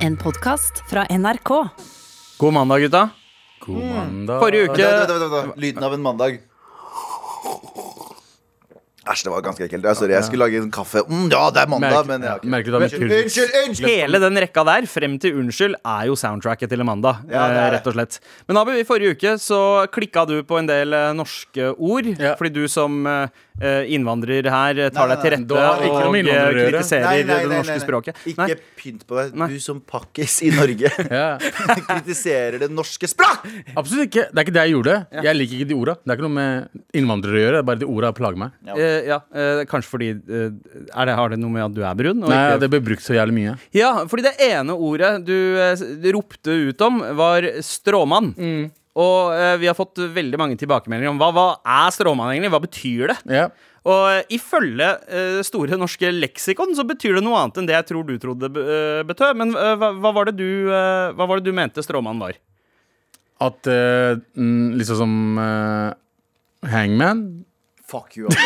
En podkast fra NRK. God mandag, gutta. God Mm. mandag. Forrige uke Vent, vent, vent, vent. Lyden av en mandag. Æsj, det var ganske ekkelt. Ja, sorry, jeg skulle lage en kaffe. Mm, ja, det er mandag, Merk- men ja, ok. merket du da med Unnskyld, unnskyld! unnskyld. Hele den rekka der, frem til Unnskyld, er jo soundtracket til Amanda. Ja, det er eh, det. rett og slett. Men Abu, i forrige uke så klikka du på en del eh, norske ord. Ja. Fordi du som eh, eh, innvandrer her eh, tar Nei, deg til nei, nei. rette Da har ikke noe og med eh, innvandrere å gjøre. kritiserer Nei, nei, det nei, norske nei, nei. språket. Nei. Ikke pynt på deg. Nei. Du som pakkis i Norge Ja. kritiserer det norske språk! Absolutt ikke. Det er ikke det jeg gjorde. Jeg liker ikke de orda. Det er ikke noe med innvandrere å gjøre. Det er bare de orda plager meg. Ja. Eh, ja, eh, kanskje fordi eh, er det, Har det noe med at du er brun? og Nei, ikke- det ble brukt så jævlig mye. Ja, fordi det ene ordet du eh, s- ropte ut om, var stråmann. Og eh, vi har fått veldig mange tilbakemeldinger om hva, hva er stråmann egentlig? Hva betyr det? Ja. Og eh, ifølge eh, Store norske leksikon så betyr det noe annet enn det jeg tror du trodde det be- eh, betød. Men eh, hva, hva, var det du, eh, hva var det du mente stråmann var? At eh, mm, liksom som eh, Hangman Fuck you, Abu.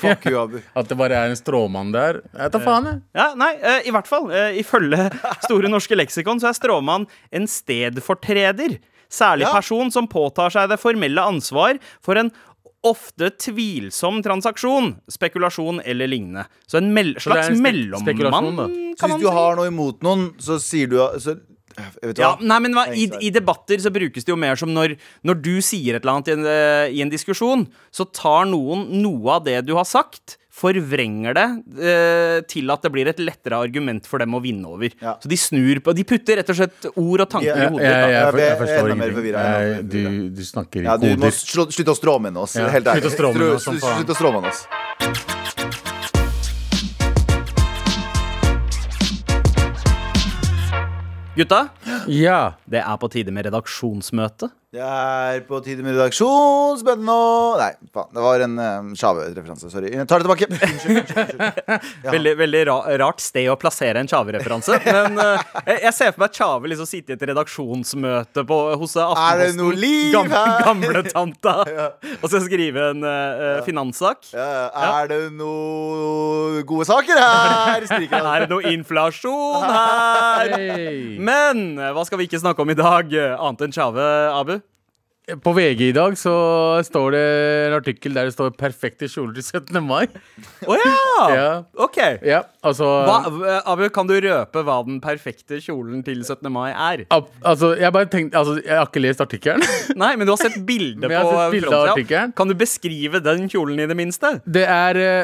Fuck you, Abu. At det bare er en stråmann der. Jeg tar faen, jeg. Ja, nei, eh, i hvert fall. eh, ifølge Store norske leksikon så er stråmann en stedfortreder. Særlig Ja. person som påtar seg det formelle ansvar for en ofte tvilsom transaksjon, spekulasjon eller lignende. Så en mell det er slags en spe- spekulasjon, da. mellommann, Så kan man hvis du si. har noe imot noen, så sier du så, Jeg vet Ja, hva. nei, men hva, i, Poengsvar. I debatter så brukes det jo mer som når, når du sier et eller annet i en, eh, i en diskusjon, så tar noen noe av det du har sagt, forvrenger det eh, til at det blir et lettere argument for dem å vinne over. Ja. Så de snur på De putter rett og slett ord og tanker Ja, i Jeg, hodet. jeg, ditt, da. jeg, Jeg ble jeg forstår enda mer ingenting. forvirret, jeg ble Jeg- mer Du, du snakker Ja, ikke du må koder. slu- slutte å stråmenne oss. Ja, Helt ærlig. slutt å stråmenne oss som Slutt- faen. Slutt å stråmenne oss. Gutta, Ja. det er på tide med redaksjonsmøte. Det er på tide med redaksjon. Spennende og Nei, faen. Det var en um, Sjave-referanse. Sorry. Jeg tar det tilbake. Unnskyld. unnskyld, unnskyld. Ja. Veldig, veldig ra rart sted å plassere en Tjave-referanse. Men eh, jeg, jeg ser for meg Tjave liksom sitte i et redaksjonsmøte på, hos eh, Aftenposten. Er det noe liv gamle, her? gamle tanta. Og så skrive en eh, finanssak. Ja, er det noe gode saker her? Skriker han. Er det noe inflasjon her? Hey. Men eh, hva skal vi ikke snakke om i dag, eh, annet enn Tjave, Abu? På VG i dag så står det en artikkel der det står 'perfekte kjoler til 17. mai'. Å ja! Ja. Ok. Ja, altså Hva, eh, Abu, kan du røpe hva den perfekte kjolen til 17. mai er? Ab- altså, jeg bare tenkte altså, Jeg har ikke lest artikkelen. Nei, men du har sett bilde Men på jeg har sett eh, bilde av frontsida. artikkelen. Kan du beskrive den kjolen i det minste? Det er, eh,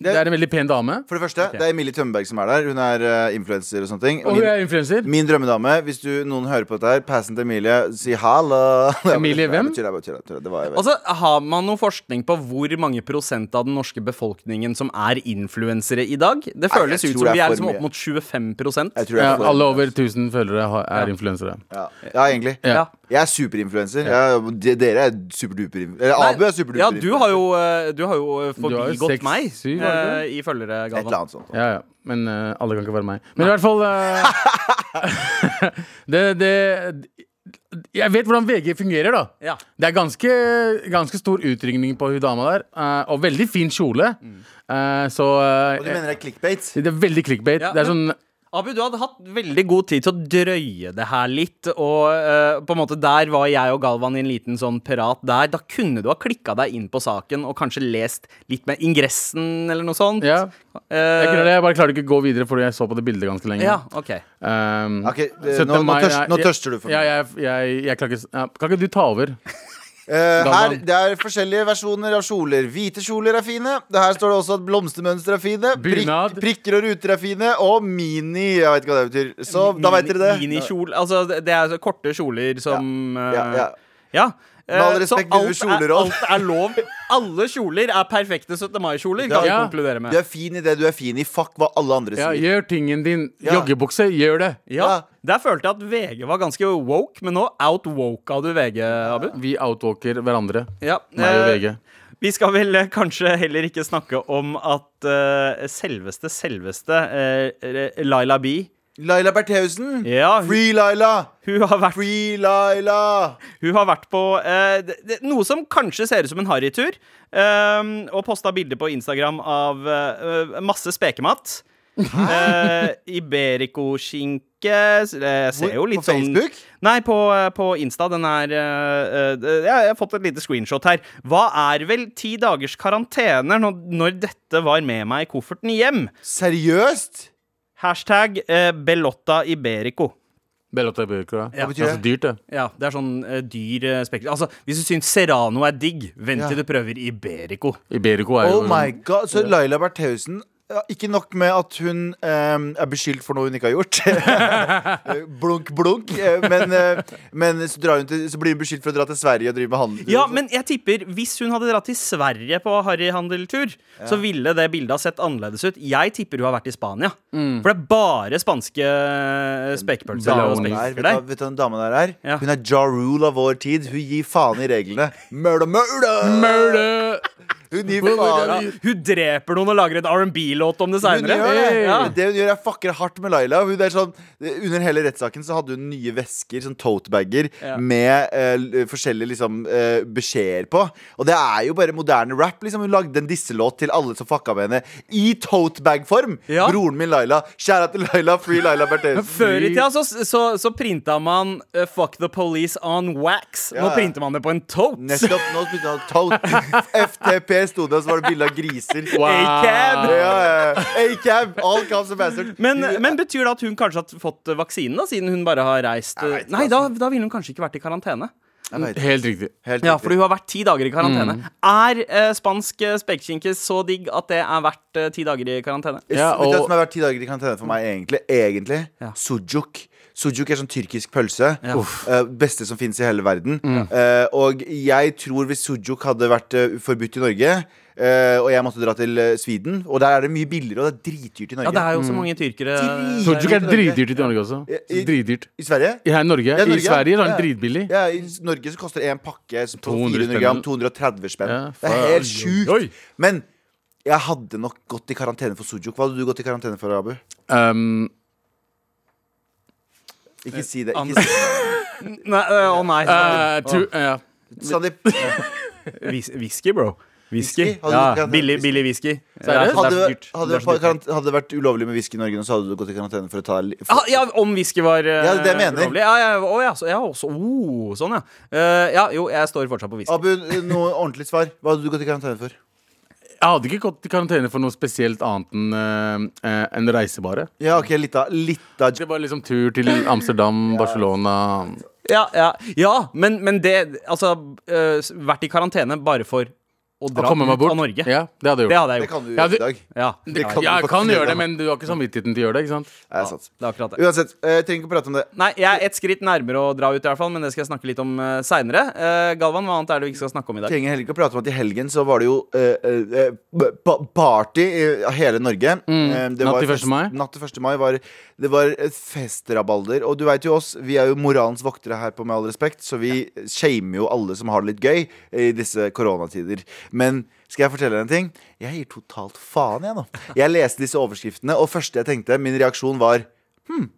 det er en veldig pen dame. For det første, det er Emilie Tømmeberg som er der. Hun er uh, influenser og sånne ting. Og hun er influenser. Min drømmedame. Hvis du, noen hører på dette her, passen til Emilie. Si hallo. Emilie hvem? Det var- det var- det var- det var- Altså, Har man noe forskning på hvor mange prosent av den norske befolkningen som er influensere i dag? Det Nei, jeg føles ut tror som det er vi er for liksom opp mye. mot 25 Jeg tror jeg Ja, får- alle over 1000 følgere har, er influensere. ja. ja, egentlig. Ja. Jeg er superinfluenser. Jeg- de- Dere er superduper Eller Nei, Abu er superduper ja, du har jo, eh, du har jo eh, Du har jo forbigått seks, meg syv, har du eh, i følgere, Et eller Galvan. annet sånt. Ja, ja. Men eh, alle kan ikke være meg. Men i hvert fall eh, det, det Jeg vet hvordan VG fungerer, da. Ja. Det er ganske, ganske stor utringning på hun dama der. eh, og veldig fin kjole. Eh, så eh, Og du mener det er clickbait? det er veldig clickbait. Ja, det er sånn Abu, du hadde hatt veldig god tid til å drøye det her litt. Og eh, på en måte der var jeg og Galvan i en liten sånn prat der. Da kunne du ha klikka deg inn på saken og kanskje lest litt med ingressen eller noe sånt. Ja. Eh, Jeg, kunne det, jeg bare klarte ikke å gå videre fordi jeg så på det bildet ganske lenge. ja, ok. Um, Ok, eh, 17. nå- nå mai, tørst- jeg- nå tørster du for Ja, meg. jeg, jeg, jeg klarer ikke, ja, kan ikke du ta over? Eh, her, Galvan. det er forskjellige versjoner av kjoler. Hvite kjoler er fine. Det Her står det også at blomstermønster er fine. Prikk, Bunad. prikker og ruter er fine. Og mini. Jeg vet ikke hva det betyr. Så da vet dere det. Minikjol. Altså, det er så korte kjoler som eh, Ja, ja. Ja. Med all Eh, så respekt, mine alt er- kjoler også. Alt er lov. Alle kjoler er perfekte 17. mai-kjoler, kan vi Ja. konkludere med. Du er fin i det du er fin i. Fuck hva alle andre Ja, sier. gjør tingen din. Ja. Joggebukse, gjør det. Ja, Ja. Der følte jeg at VG var ganske woke, men nå outwoka du VG, Abu. Vi outwalker hverandre. Ja, Meg og eh, VG. Vi skal vel eh, kanskje heller ikke snakke om at eh, selveste, selveste eh, Laila B Laila Bertheussen. Ja, hun, Free Laila. hun, har vært, Free Laila. hun har vært på eh, det- det- noe som kanskje ser ut som en harrytur, um, og posta bilder på Instagram av eh, eh, masse spekemat. Uh, Eh, Iberico-skinke eh, s- eh, Jeg ser jo litt på Facebook? sånn Nei, på, eh, på Insta. Den er eh, eh, Jeg har fått et lite screenshot her. Hva er vel ti dagers karantene når, når dette var med meg i kofferten hjem? Seriøst? Hashtag eh, Belotta Iberico. Bellotta Burker, da. Hva Det er betyr så det? dyrt, det. Ja, det er sånn eh, dyr eh, spekter. Altså, hvis du syns Serrano er digg, vent Ja. til du prøver Iberico. Iberico er jo Oh my god, så Laila Bertheussen ja, Ikke nok med at hun ehm, er beskyldt for noe hun ikke har gjort. blunk, blunk. eh, Men, eh, men så, drar hun til, så blir hun beskyldt for å dra til Sverige og drive med handel. Ja, og sånt. men jeg tipper hvis hun hadde dratt til Sverige på harryhandeltur, så ville det bildet ha sett annerledes ut. Jeg tipper hun har vært i Spania. For det er bare spanske spekepølser og Belloni. Hun spekepølser er, vet, du, der. hva- vet du hva den dama der er? Ja. Hun er Ja Rule av vår tid. Hun gir faen i reglene. Murder, murder! Murder! Hun gir faen i Hun dreper noen og lager en R&B-låt om det Hun seinere. gjør det. Ja. det hun gjør, er fucker hardt med Laila. Hun er sånn, under hele rettssaken så hadde hun nye vesker, sånn totebager, Ja. med eh, l- forskjellige liksom, eh, beskjeder på. Og det er jo bare moderne rap. Liksom. Hun lagde en disselåt til alle som fucka med henne, i totebag-form. Ja. Broren min Laila. Kjære til Laila, free Laila Bertheussen. Før i tida så, så, så printa man eh, 'Fuck the police on wax'. Nå Ja. printer man det på en tote. Nettopp nå begynte han tote. FTP sto det, og så var det bilde av griser. A-cab. Ja, ja, ja. A-cab, all caps and bastard. Men, men betyr det at hun kanskje har fått eh, vaksinen, da, siden hun bare har reist eh, Jeg vet ikke, altså. Nei, da, da ville hun kanskje ikke vært i karantene. Jeg vet, Mm. Helt riktig. helt Ja, riktig. fordi hun har vært ti dager i karantene. Er eh, spansk eh, spekeskinke så digg at det er verdt eh, ti dager i karantene? Ja, Vet du hva og- som har vært ti dager i karantene for meg, egentlig? egentlig? Ja. Sujuk. Sujuk er sånn tyrkisk pølse. Ja. Uff. Eh, beste som fins i hele verden. Mm. Eh, og jeg tror hvis sujuk hadde vært eh, forbudt i Norge, eh, og jeg måtte dra til eh, Sweden Og der er det mye billigere, og det er dritdyrt i Norge. Ja, det er jo så mange tyrkere Drit- Sojuk er Norge. dritdyrt i Norge også. I- Dritdyrt. I Sverige? Her i Norge. Ja, Norge, I Sverige så er den ja. dritbillig. Ja, I s- Norge så koster en pakke sånn som på 200 400 gram 230 spenn. Ja, det er faen. helt Oi. sjukt. Men jeg hadde nok gått i karantene for sujuk. Hva hadde du gått i karantene for, Abu? Um, Ikke si det. Anders. Ikke si Nei, øh, Å nei. eh, tu, ja. det. Sandeep. Whis- Whisky, bro. Whisky. Whisky? Hadde du Ja, ikke- billig, billig whisky. Seriøst? Ja, Hadde, det er så dyrt. Det hadde, det er så vært- dyrt. karant- hadde det vært ulovlig med whisky i Norge nå, så hadde du gått i karantene for å ta li- for, Ah, ja, om whisky var eh, Ja, det er det jeg mener. ulovlig. Ja, ja, å, ja, så, ja, også, oh, sånn, ja. Eh, ja. Jo, jeg står fortsatt på whisky. Abu, noe ordentlig svar. Hva hadde du gått i karantene for? Jeg hadde ikke gått i karantene for noe spesielt annet enn eh, eh, en reisebare. Ja, ok, litt av, litt av Det var liksom tur til Amsterdam, Barcelona Ja, ja. ja men, men det Altså, eh, s- vært i karantene bare for å og dra komme meg ut bort. av Norge. Ja, det hadde Det jeg gjort. hadde jeg Det gjort. kan du Ja, gjøre du- i dag. Ja, Det Ja, kan du jeg faktisk kan gjøre. gjøre det, men du har ikke samvittigheten til å gjøre det. ikke sant? Det er sant. det er akkurat det. Uansett, eh, jeg trenger ikke å prate om det. Nei, jeg er et skritt nærmere å dra ut, i hvert fall men det skal jeg snakke litt om uh, seinere. Galvan, hva annet er det vi ikke skal snakke om i Jeg dag? trenger heller ikke å prate om at i helgen så var det jo eh, eh, eh, ba- party i hele Norge. Eh, det Mm. Natt var til 1. mai. Natt til 1. mai var, det var et festrabalder. Og du veit jo oss, vi er jo moralens voktere her, på med all respekt, så vi shamer jo alle som har det litt gøy i disse koronatider. Men skal jeg fortelle deg en ting? Jeg gir totalt faen, jeg nå. Jeg leste disse overskriftene, og første jeg tenkte, min reaksjon var Hm,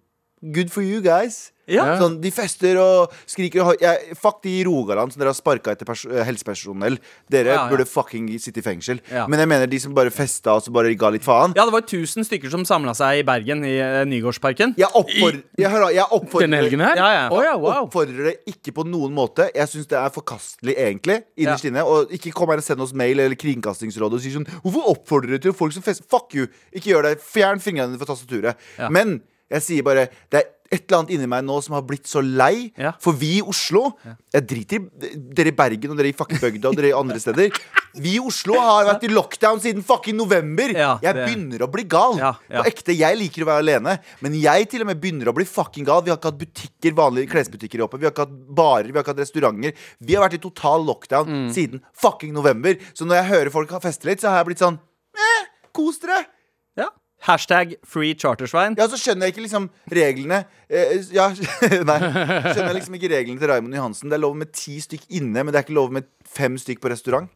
good for you guys. Ja. Sånn, de fester og skriker og har- jeg, Fuck de i Rogaland som dere har sparka etter pers eh, helsepersonell. Dere Ja, ja. burde fucking sitte i fengsel. Ja. Men jeg mener de som bare festa og så bare ga litt faen. Ja, det var 1000 stykker som samla seg i Bergen, i eh, Nygårdsparken. Jeg, oppfordrer, jeg, hører, jeg oppfordrer Denne helgen her? Ja, ja. Å ja, wow. Oppfordrer det ikke på noen måte. Jeg syns det er forkastelig, egentlig. Innerst Ja. inne. Og ikke kom her og send oss mail eller Kringkastingsrådet og si sånn Hvorfor oppfordrer dere til folk som fester? Fuck you! Ikke gjør det. Fjern fingrene dine fra tastaturet. Ja. Men jeg sier bare det er et eller annet inni meg nå som har blitt så lei. Ja. For vi i Oslo Jeg driter i dere i Bergen og dere i fucking bygda og dere i andre steder. Vi i Oslo har vært i lockdown siden fucking november. Ja, jeg det- begynner å bli gal. Ja, ja. På ekte, jeg liker å være alene, men jeg til og med begynner å bli fucking gal. Vi har ikke hatt butikker, vanlige klesbutikker oppe, vi har ikke hatt barer, vi har ikke hatt restauranter. Vi har vært i total lockdown Mm. siden fucking november. Så når jeg hører folk har festet litt, så har jeg blitt sånn eh, kos dere. Ja. Hashtag free chartersvein. Ja, så skjønner jeg ikke liksom reglene eh, Ja, nei. Skjønner jeg liksom ikke reglene til Raymond Johansen. Det er lov med ti stykk inne, men det er ikke lov med fem stykk på restaurant.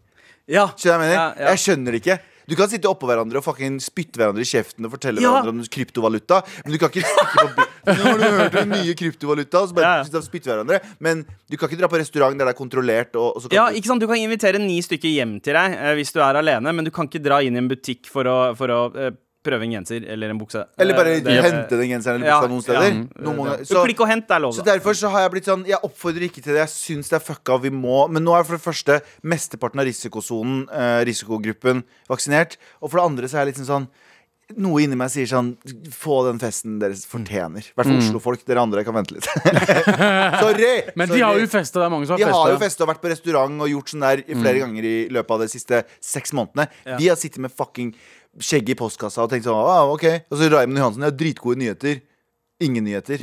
Ja. Skjønner jeg, hva jeg mener? Ja, ja. jeg skjønner det ikke. Du kan sitte oppå hverandre og fucking spytte hverandre i kjeften og fortelle Ja. hverandre om kryptovaluta, men du kan ikke stikke på by- Nå har du hørt om nye kryptovaluta, og så bare Ja, ja. sitte og spytte hverandre. Men du kan ikke dra på restaurant der det er kontrollert, og, og så kan Ja, du ikke sant? Du kan invitere ni stykker hjem til deg eh, hvis du er alene, men du kan ikke dra inn i en butikk for å, for å eh, prøve en genser eller en bukse. Eller bare Eh, det- hente den genseren eller Ja, buksa noen steder. ja. Noen må- Så, Klikk og hent er lov, Altså, Så da. derfor så har jeg blitt sånn Jeg oppfordrer ikke til det. Jeg syns det er fucka, vi må Men nå er for det første mesteparten av risikosonen, eh, risikogruppen, vaksinert. Og for det andre så er jeg liksom sånn noe inni meg sier sånn Få den festen dere fortjener. I hvert Mm. fall Oslo-folk. Dere andre kan vente litt. Sorry! Men de har Sorry. jo festa. Det er mange som Vi har har festa. jo Mm. festet og vært på restaurant og gjort sånn der flere ganger i løpet av de siste seks månedene. Vi har sittet med fucking skjegget i postkassa og tenkt sånn ah, ok. Og så Raymond Johansen, jeg har dritgode nyheter. Ingen nyheter.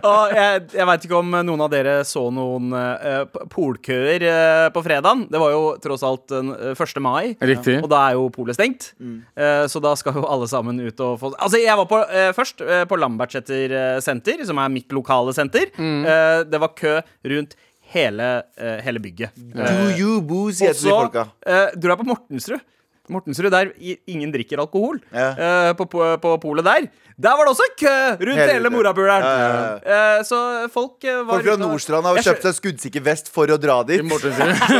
Og jeg jeg veit ikke om noen av dere så noen eh, p- polkøer eh, på fredagen. Det var jo tross alt den, eh, 1. mai. Riktig. Og da er jo polet stengt. Eh, så da skal jo alle sammen ut og få Altså, jeg var på, eh, først eh, på Lambertseter eh, senter, som er mitt lokale senter. Eh, det var kø rundt hele, eh, hele bygget. Do you boo, sier jeg til de folka. eh, dro jeg på Mortensrud. Mortensrud der i- ingen drikker alkohol. Ja. Eh, på, på, på polet der. Der var det også kø rundt Hele- hele, morapuleren. Ja, ja, Eh, så folk eh, var Folk fra ute og- Nordstrand har Jeg skjø- kjøpt seg skuddsikker vest for å dra dit. for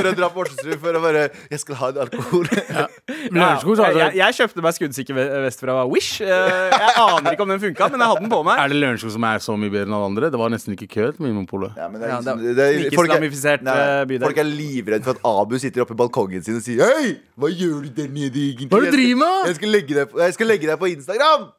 å dra på Mortensrud for å bare Jeg skal ha en alkohol. Lørenskog, sa jeg, du. jeg, jeg kjøpte meg skuddsikker ve- vest fra Wish. Eh, jeg aner ikke om den funka, men jeg hadde den på meg. Er det Lørenskog som er så mye bedre enn alle andre? Det var nesten ikke kø til Vinmonopolet. Ja, men det er Ja, liksom, det er det er, like folk, er, islamifisert, eh, bydel. folk er livredd for at Abu sitter oppe i balkongen sin og sier Hei, hva gjør du der nede egentlig? Hva er det du driver med? Jeg skal legge deg på, jeg skal legge deg på Instagram!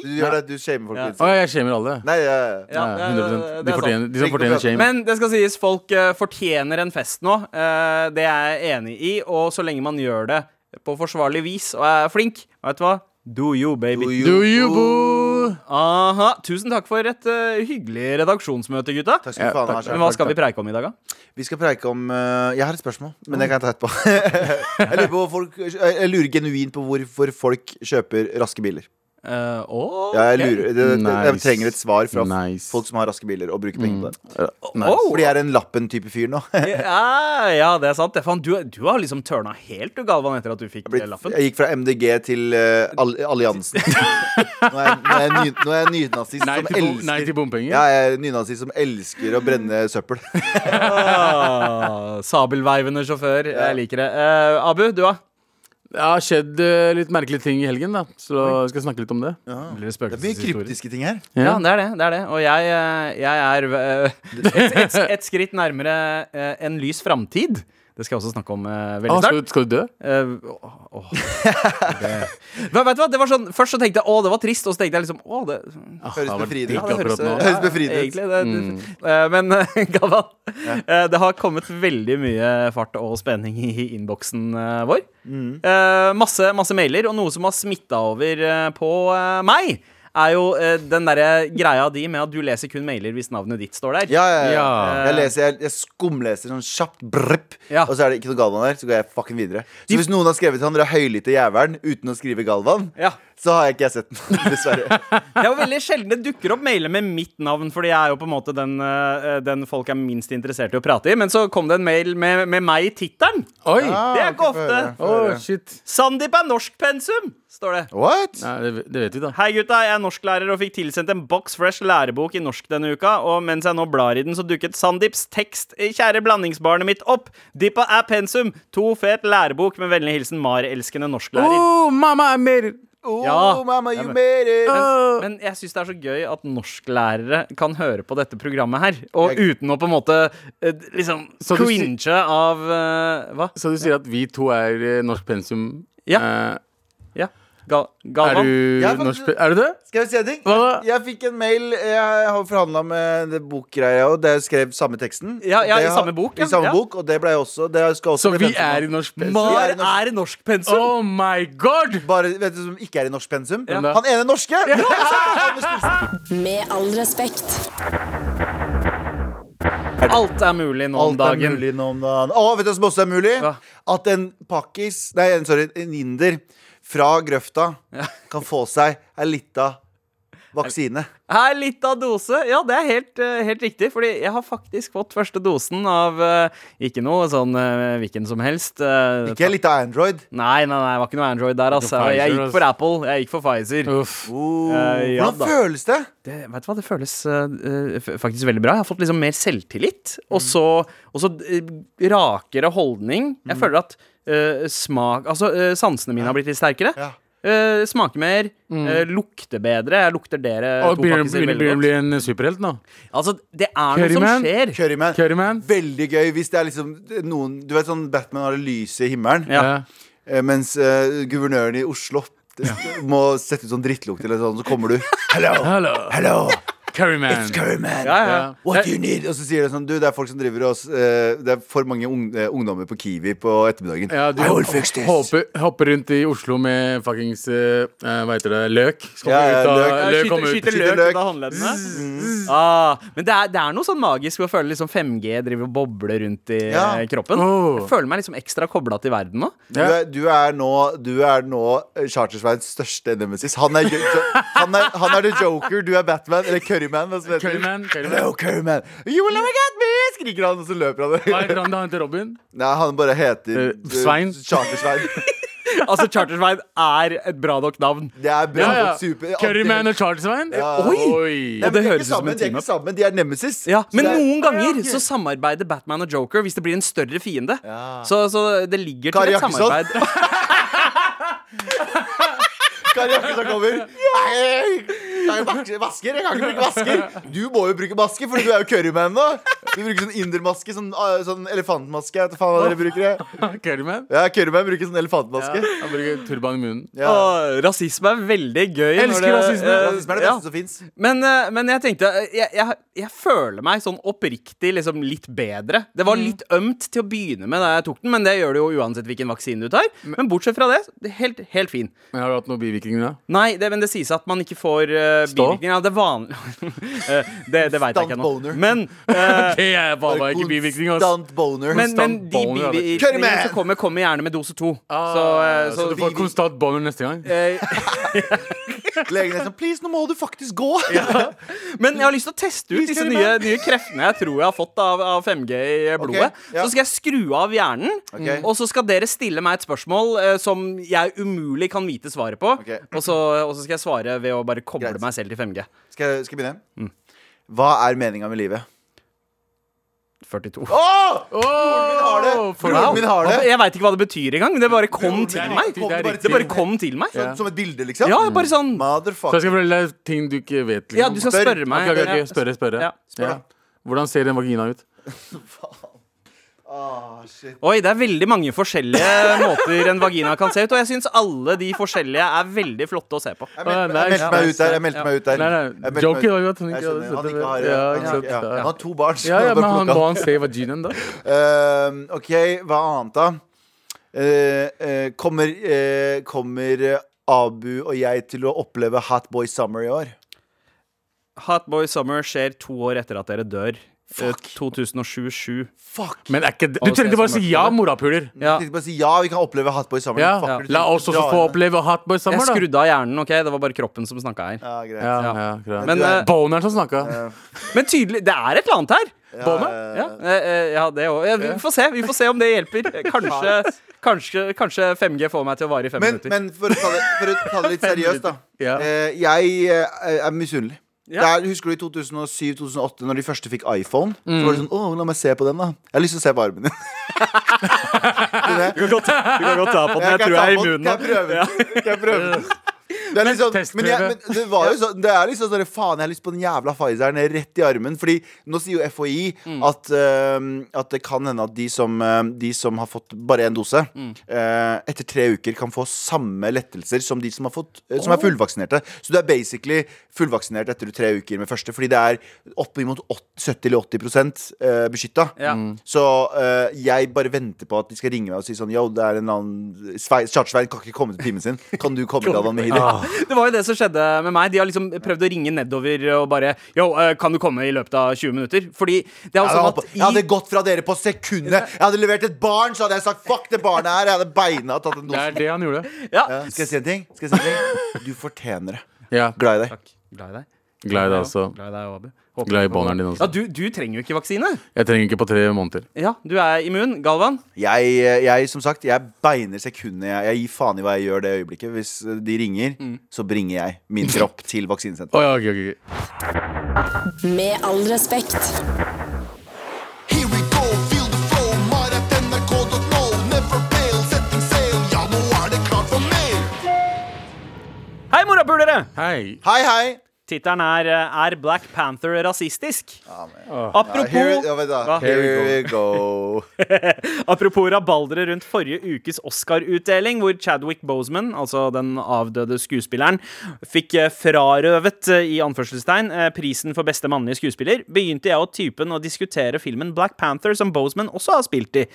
Du gjør det, du shamer folk på Å, Instagram. jeg shamer alle. Nei, ja, ja. Ja, Ja, det er- 100 det De, er fortjener, sant. de som Tenk å fortjener prate. shame. Men det skal sies, folk eh, fortjener en fest nå. Eh, det er jeg enig i. Og så lenge man gjør det på forsvarlig vis og er flink, vet du hva? Do you, baby. Do you- Do you boo? Aha. Tusen takk for et eh, hyggelig redaksjonsmøte, gutta. Takk skal du faen ha. takk. Sjef. Men hva skal vi preike om i dag, da? Vi skal preike om eh, Jeg har et spørsmål, men det kan jeg ta etterpå. jeg, lurer på hvor folk, jeg lurer genuint på hvorfor folk kjøper raske biler. Eh, å, Ja, jeg, ok. lurer, det, det, jeg Nice. trenger et svar fra Nice. Mm. folk som har raske biler, og bruker penger på det. Oh, Fordi jeg er en lappen-type fyr nå. Jeg, ja, ja, det er sant. Det, faen, du, du har liksom tørna helt, du, Galvan, etter at du fikk blitt, eh, lappen. jeg gikk fra MDG til eh, all, Alliansen. Nå er jeg- nå er jeg ny- nå er jeg nynazist Nei som til, bo- nei til elsker bompenger. Ja, jeg er nynazist som elsker å brenne søppel. Ah, Sabelveivende sjåfør. Jeg liker det. Eh, Abu, du, da? Det har skjedd eh, litt merkelige ting i helgen, da. Så jeg skal snakke litt om det. Blir det Det er mye kryptiske ting her. Ja, det er det. det, er det. Og jeg, eh, jeg er eh, et, et, et skritt nærmere eh, en lys framtid. Det skal jeg også snakke om eh, veldig Ah, skal, snart. du- skal du dø? Eh, åh, åh. det. Men, vet du hva? Det var sånn, først så tenkte jeg å, det var trist, og så tenkte jeg liksom å, det, Ah, Høres det var befriende. digg Ja, det høres, akkurat nå. Mm. eh, Høres befriende ut. egentlig, det, eh, Men eh, Galvan, eh, det har kommet veldig mye fart og spenning i innboksen eh, vår. Mm. Eh, masse, masse mailer, og noe som har smitta over eh, på eh, meg, er jo eh, den derre greia di med at du leser kun mailer hvis navnet ditt står der. Ja, ja, ja. Ja. Jeg, leser, jeg, jeg skumleser sånn kjapt, brrp, Ja. og så er det ikke noe Galvan der. Så går jeg fucking videre. Så hvis noen har skrevet 'Han der høylytte jævelen' uten å skrive Galvan, Eh, Ja. så har jeg ikke jeg sett den, dessverre. Det er jo veldig sjelden det dukker opp mailer med mitt navn, fordi jeg er jo på en måte den, eh, den folk er minst interessert i å prate i. Men så kom det en mail med, med meg i tittelen. Oi! Det er ikke ok, få ofte. høre, få Åh, høre. shit. Sandeep er norskpensum, står det. What? Nei, det, det vet vi, da. Hei gutta, jeg er norsklærer og fikk tilsendt en box fresh lærebok i norsk denne uka, og mens jeg nå blar i den, så dukket Sandeeps tekst i Kjære blandingsbarnet mitt opp. Dippa er pensum. To fet lærebok med vennlig hilsen Mar-elskende Uh. norsklærer. Oh, mamma, I made it! Oh, Ja. mama, you made it. Oh. Men jeg syns det er så gøy at norskklærere kan høre på dette programmet her, og Jeg- uten å på en måte eh, liksom Så du si- cringe av eh, Hva? Så du sier at vi to er eh, norsk pensum? Ja. Eh, Ja. Gal er Galvan? du Jeg er faktisk- norsk pe- Er du det? Skal jeg si en ting? Hva da? Jeg fikk en mail. Jeg har forhandla med det bokgreia, og det skrev samme teksten. Ja, ja, Det i har- samme bok, I ja. samme Ja. bok, og det ble jeg også. Det skal også Så bli vi pensum. er i norsk pensum? Mar Jeg er norsk- er norsk pensum! Oh my god! Bare, vet du som ikke er i norsk pensum? Ja. Han ene norske! Med all respekt. Alt er mulig nå om Alt er dagen. mulig nå om dagen. Å, vet du hva som også er mulig? Hva? At en pakkis, nei, en- sorry, en inder fra grøfta kan få seg ei lita vaksine. Her litt av dose. Ja, det er helt, eh, helt riktig. Fordi jeg har faktisk fått første dosen av eh, ikke noe sånn eh, hvilken som helst. eh, Ikke ei lita Android. Nei, nei, nei, det var ikke noe Android der, altså. Pfizer, Jeg gikk for altså. Apple. Jeg gikk for Pfizer. Uff. Oh, Eh, ja da. hvordan føles det? Det, vet du hva, det føles eh, eh, f- faktisk veldig bra. Jeg har fått Mm. Mm. liksom mer selvtillit. Og så, og så eh, rakere holdning. Jeg føler at eh, eh, smak Altså, eh, sansene mine har blitt litt sterkere. Ja. Eh, smaker mer, eh, lukter bedre. Jeg lukter dere Og to begynner pakkiser begynner- veldig begynner Mm. godt. å bli en superhelt nå. Altså, det er noe Curryman. som skjer. Curryman. Curryman. Veldig gøy hvis det er liksom noen Du vet sånn Batman har det lyset i himmelen, Ja. Ja. eh, mens eh, guvernøren i Oslo må sette ut sånn drittlukt eller sånn, så kommer du. Hello, Hallo, hello, Curryman. it's Curryman. Ja, ja. Ja. What do you need? Og så sier det sånn Du, det er folk som driver oss eh, Det er for mange ung, eh, ungdommer på Kiwi på ettermiddagen. Ja, du I will fix this. hopper, hopper rundt i Oslo med fuckings eh, eh, Hva heter det? Løk. Så kommer Ja, ja, ut av- løk. Ja, løk skyter, kommer ut. skyter Skyter løk løk. ut av håndleddene. Ah, men det er, det er noe sånn magisk ved å føle liksom 5G driver og bobler rundt i Ja. eh, kroppen. Oh. Jeg føler meg liksom ekstra kobla til verden nå. Du er, du er nå, du er nå eh, Chartersveins største nemesis. Han er, han, er, han er the joker, du er Batman. Eller Curryman. hva som heter. Curryman. Curryman. Hello, Curryman. You will never get me! skriker han, og så løper han. Hva heter han? Han heter Robin? Nei, han bare heter Eh, Svein. Chartersvein. Altså, Chartersvein er et bra nok navn. Det er bra. Ja, ja. Super. Curryman og Charlesvein? Ja. Oi! Nei, Og men de det er ikke høres ut som sammen, en De er team ikke sammen, de er nemesis. Ja, men Så det er- noen ganger så samarbeider Batman og Joker hvis det blir en større fiende. Ja. Så, så det ligger Kari til et Jakkesson. samarbeid. Kari Jakkesson kommer. Nei, jeg vasker, vasker, jeg kan ikke bruke vasker. Du må jo bruke maske, for du er jo curryman nå. Du bruker sånn indermaske, sånn, ah, sånn elefantmaske. Jeg vet hva faen hva dere bruker. jeg. Curryman? Ja, curryman bruker sånn elefantmaske. Han bruker turban i munnen. Ja. Og rasisme er veldig gøy. når Elsker det- rasisme. eh, Rasisme er det ja. beste som fins. Men, eh, men jeg tenkte eh, jeg, jeg, jeg føler meg sånn oppriktig liksom litt bedre. Det Mm. var litt ømt til å begynne med da jeg tok den, men det gjør det jo uansett hvilken vaksine du tar. Men bortsett fra det, det er helt, helt fin. Men har du hatt noen bivirkninger da? Nei, det, men det sies at man ikke får eh, Stå? bivirkninger. Ja, det er vanlig Eh, Det, det veit jeg ikke ennå. Stunt boner. Men, eh, Det er bare bare ikke bivirkninger. ass. Konstant boner. men, men de boner, ja, det- bivirkningene Curryman! som kommer, kommer gjerne med dose to. så, eh, Ah, så, så du får konstant boner neste gang? eh, Legen er sånn Please, nå må du faktisk gå. Men jeg har lyst til å teste ut disse nye, nye kreftene jeg tror jeg har fått av, av 5G i blodet. ja. Så skal jeg skru av hjernen, Mm. Ok. og så skal dere stille meg et spørsmål eh, som jeg umulig kan vite svaret på. Ok. Og, så, og så skal jeg svare ved å bare koble Greit. meg selv til 5G. Skal jeg, skal jeg begynne? Mm. Hva er meninga med livet? 42. Åh! Broren har det. Broren min har det. Jeg veit ikke hva det betyr engang. Det bare kom Det til er meg. riktig, det er Det Det riktig. bare kom til meg. Sånn, Som et bilde, liksom? Ja, bare sånn Så jeg Motherfucker. skal fortelle deg ting du ikke vet. Liksom. Ja, du skal Spør. spørre meg. Ok, ok, ok, Spørre, spørre. Ja. Ja. Hvordan ser en vagina ut? Åh, shit. Oi, det er veldig mange forskjellige måter en vagina kan se ut, og jeg syns alle de forskjellige er veldig flotte å se på. Jeg Ah, meldte, jeg nice, meldte meg nice, ut der. nice. Jeg meldte meg ut der. Nei, nei, Jeg meldte meg joker ut. var jo at hun Jeg ikke skjønner, hadde han sett ikke har det. Ja, han ikke har sant, ikke- ja. Han ja. har to barn. så Ja, ja, bare men han, plukket må opp. han se vaginaen, da? Ehm, OK, hva annet, da? Eh, eh, kommer, eh, kommer eh, Abu og jeg til å oppleve Hot Boy Summer i år? Hot Boy Summer skjer to år etter at dere dør. Eh, 2007-7. Men er ikke det. Du trengte bare å si ja, morapuler. Ja. Jeg tenkte bare å si ja, vi kan oppleve Hot Boy Summer. Ja. Fucker, du La tenkte oss også dra få henne. oppleve Hotboy Jeg Summer, da. skrudde av hjernen, ok? Det var bare kroppen som snakka her. Ja, greit. Ja, Ja. ja, greit. Men, Du er- eh, Boneren som snakka. men tydelig, det er et eller annet her. Ja, Bonnet? eh, Ja, eh, eh, ja det òg. Ja, vi får se vi får se om det hjelper. Kanskje, kanskje, kanskje 5G får meg til å vare i fem Men, minutter. men for, å ta det, for å ta det litt seriøst, da. Ja. Eh, jeg eh, er misunnelig. Ja. Det er- husker du i 2007-2008, når de første fikk iPhone? Så Mm. var det sånn, åh, La meg se på den, da. Jeg har lyst til å se på armen din. Du kan godt ta på kan ta på den. Kan jeg prøve den? Kan jeg prøve den? Det er liksom, men, jeg, testprøve. men det var jo sånn Det er liksom sånn Faen, jeg har lyst på den jævla Pfizeren rett i armen. Fordi nå sier jo FHI at, øhm, at det kan hende at de som, øhm, de som har fått bare én dose, øh, etter tre uker kan få samme lettelser som de som, har fått, øh, som er fullvaksinerte. Så du er basically fullvaksinert etter tre uker med første, fordi det er oppimot 70 eller 80 øh, beskytta. Ja. Så øh, jeg bare venter på at de skal ringe meg og si sånn Yo, det er en eller annen Svei- Charter-Svein kan ikke komme til timen sin. Kan du komme deg av med hit? Ah. Det var jo det som skjedde med meg. De har liksom prøvd å ringe nedover og bare Yo, eh, kan du komme i løpet av 20 minutter? Fordi det er jo Jeg sånn hadde, at jeg hadde gått fra dere på sekundet. Jeg hadde levert et barn, så hadde jeg sagt fuck det barnet her. Jeg hadde beina tatt en Det dose. er det han gjorde. Ja. Ja, Skal jeg si en ting? Skal jeg si en ting? Du fortjener det. Ja, Glad i deg. Glad i deg. Glad i deg også. Glad i deg, Abu. Håper Glad i du- boneren din også. Ja, du, du trenger jo ikke vaksine. Jeg trenger ikke på tre måneder. Ja, du er immun. Galvan? Jeg, jeg som sagt, jeg beiner sekundet. Jeg, jeg gir faen i hva jeg gjør det øyeblikket. Hvis de ringer, Mm. så bringer jeg min kropp til vaksinesenteret. Å ja, ok, ok, ok. Med all respekt. Here we go, feel the flow, mar at nrk.no, never fail, sett Morapulere! Hei. Hei, hei! Tittelen er eh, Er Black Panther rasistisk? Ja, here, ja, Apropos, vent da. Hva? here we go. apropos rabalderet rundt forrige ukes Oscar-utdeling, hvor Chadwick Boseman, altså den avdøde skuespilleren, fikk eh, frarøvet eh, i anførselstegn eh, prisen for beste mannlige skuespiller, begynte jeg og typen å diskutere filmen Black Panther, som Boseman også har spilt i.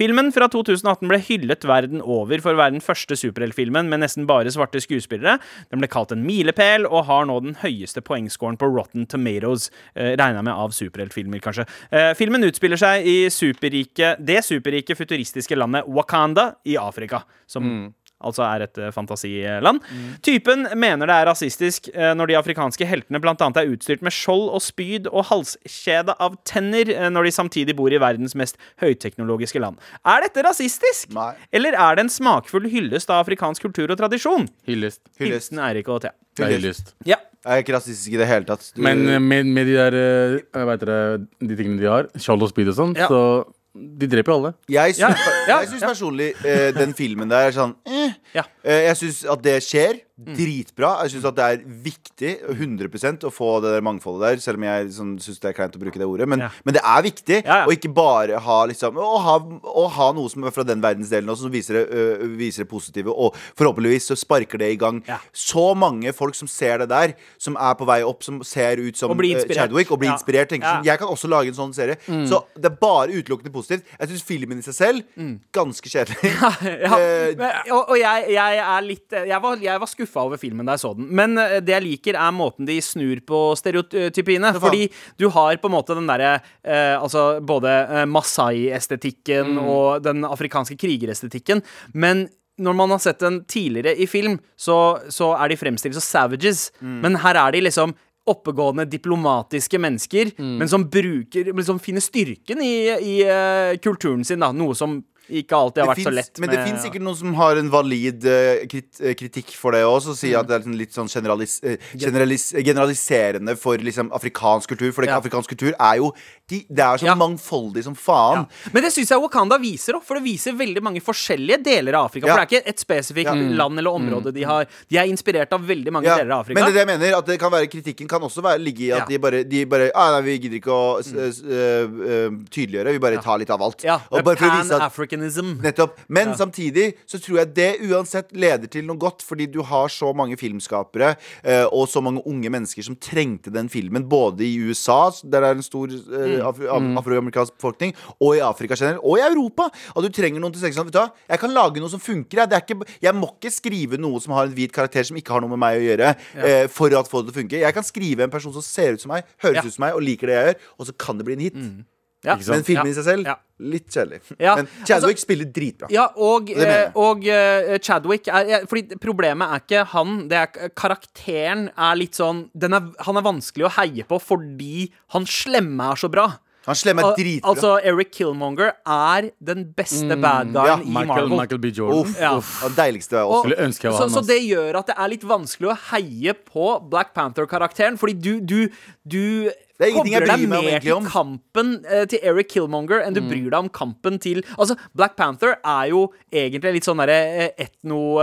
Filmen fra 2018 ble hyllet verden over for å være den første superheltfilmen med nesten bare svarte skuespillere. Den ble kalt en milepæl, og har nå den høyeste poengscoren på Rotten Tomatoes. Eh, Regna med av superheltfilmer, kanskje. Eh, filmen utspiller seg i superrike, det superrike futuristiske landet Wakanda i Afrika. Som Mm. altså er et eh, fantasiland. Typen mener det er rasistisk eh, når de afrikanske heltene bl.a. er utstyrt med skjold og spyd og halskjede av tenner eh, når de samtidig bor i verdens mest høyteknologiske land. Er dette rasistisk? Nei. Eller er det en smakfull hyllest av afrikansk kultur og tradisjon? Hyllest. Hyllest. Hilsen Eirik og Thea. Det er hyllest. Ja. Jeg er ikke rasistisk i det hele tatt. Du- Men eh, med, med de der eh, jeg vet dere, de tingene de har, skjold og speed og sånn, Ja. så de dreper jo alle. jeg syns, ja, jeg syns personlig eh, den filmen der er sånn eh. Ja. Mm. Eh, Jeg syns at det skjer. Dritbra. Jeg syns at det er viktig 100 å få det der mangfoldet der, selv om jeg sånn, syns det er kleint å bruke det ordet. Men, Ja. men det er viktig Ja, ja. å ikke bare ha, liksom, å ha, å ha noe som er fra den verdensdelen også, som viser det, ø, viser det positive. Og forhåpentligvis så sparker det i gang Ja. så mange folk som ser det der, som er på vei opp, som ser ut som Og blir eh, inspirert. Chadwick, og blir Ja. inspirert. Tenker Ja. sånn, jeg kan også lage en sånn serie. Mm. Så det er bare utelukkende positivt. Jeg syns filmen i seg selv ganske kjedelig. Mm. ja. Eh, Men- Og, og jeg, jeg er litt Jeg var, jeg var skuffa over filmen da jeg så den. Men eh, det jeg liker, er måten de snur på stereotypiene. faen. Fordi du har på en måte den derre eh, Altså både eh, Masai-estetikken Mm. og den afrikanske krigerestetikken. Men når man har sett den tidligere i film, så, så er de fremstilt som savages. Mm. Men her er de liksom oppegående, diplomatiske mennesker, Mm. men som bruker Men som finner styrken i, i eh, kulturen sin, da. Noe som ikke alltid har vært så finnes- lett. Men det med- fins sikkert noen som har en valid eh, krit, eh, kritikk for det også, og Mm. sier at det er liksom litt sånn generalis, eh, generalis, eh, generaliserende for liksom afrikansk kultur. For det, Ja. afrikansk kultur er jo de, Det er så Ja. mangfoldig som faen. Men det syns jeg Wakanda viser òg, for det viser veldig mange forskjellige deler av Afrika. Ja. For det er ikke et spesifikt Ja. Mm. land eller område de har. De er inspirert av veldig mange Ja, deler av Men det Afrika. er det jeg mener, at det kan være, kritikken kan også være, ligge i Ja. Mm. at de bare, de bare ah, nei, 'Vi gidder ikke å s- s- eh, eh, tydeliggjøre, vi bare tar litt av alt'. Ja, og bare for å vise at Pan-africanism. Nettopp. Men samtidig så tror jeg det uansett leder til noe godt, fordi du har så mange filmskapere eh, og så mange unge mennesker som trengte den filmen, både i USA, s- der det er en stor eh, Mm. afro am- afroamerikansk befolkning, og i Afrika generelt, og i Europa. At du trenger noen til å tenke sånn Vet du hva, jeg kan lage noe som funker. Jeg, det er ikke, jeg må ikke skrive noe som har en hvit karakter som ikke har noe med meg å gjøre, eh, for at få det til å funke. Jeg kan skrive en person som ser ut som meg, høres Ja. ut som meg og liker det jeg gjør, og så kan det bli en hit. Ja. Men filmen i seg selv, Ja. litt kjedelig. Ja, Men Chadwick altså- spiller dritbra. Ja, og, mener jeg. eh, og eh, Chadwick er ja, Fordi problemet er ikke han, det er karakteren er litt sånn den er, Han er vanskelig å heie på fordi han slemme er så bra. Han slemme Al- er dritbra. Mm. Altså, Eric Killmonger er den beste bad guyen ja, i Michael, Marvel. Michael B. Jordan. Uff, Ja. uff. Det deiligste er også. Og, Skulle ønske jeg var så, han, så ass. det gjør at det er litt vanskelig å heie på Black Panther-karakteren, fordi du, du, du Det er ingenting jeg kobler deg bryr meg om mer egentlig til om. kampen eh, til Eric Killmonger Mm. enn du bryr deg om kampen til Altså, Black Panther er jo egentlig litt sånn derre eh,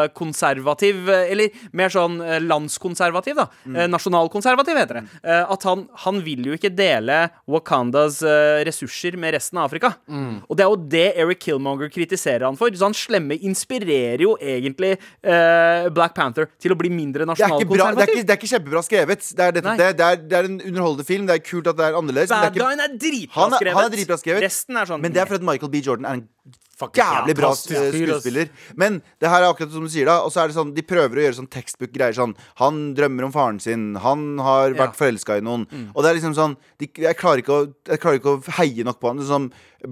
etnokonservativ, eh, eller mer sånn eh, landskonservativ, da. Mm. Eh, Nasjonalkonservativ, heter det. Eh, At han, han vil jo ikke dele Wakandas eh, ressurser med resten av Afrika. Mm. Og det er jo det Eric Killmonger kritiserer han for. Så han slemme inspirerer jo egentlig eh, Black Panther til å bli mindre Det er, ikke bra, det, er ikke, nasjonalkonservativ. det er ikke kjempebra skrevet. Det er, dette, Nei. det, det, er, det er en underholdende film. Det er kult at det er annerledes. Men Bad det er, guyen er dritbra Han er- skrevet. han er dritbra skrevet. Resten er ikke, sånn men det er fordi at Michael B. Jordan er en jævlig Jævlig bra fantastisk eh, fyr, ass. skuespiller. Men det her er akkurat som du sier, da. Og så er det sånn, de prøver å gjøre sånn tekstbook-greier. Sånn, han drømmer om faren sin. Han Ja. har Mm. vært forelska i noen. Og det er liksom sånn de, jeg, klarer ikke å, jeg klarer ikke å heie nok på han. Det er Som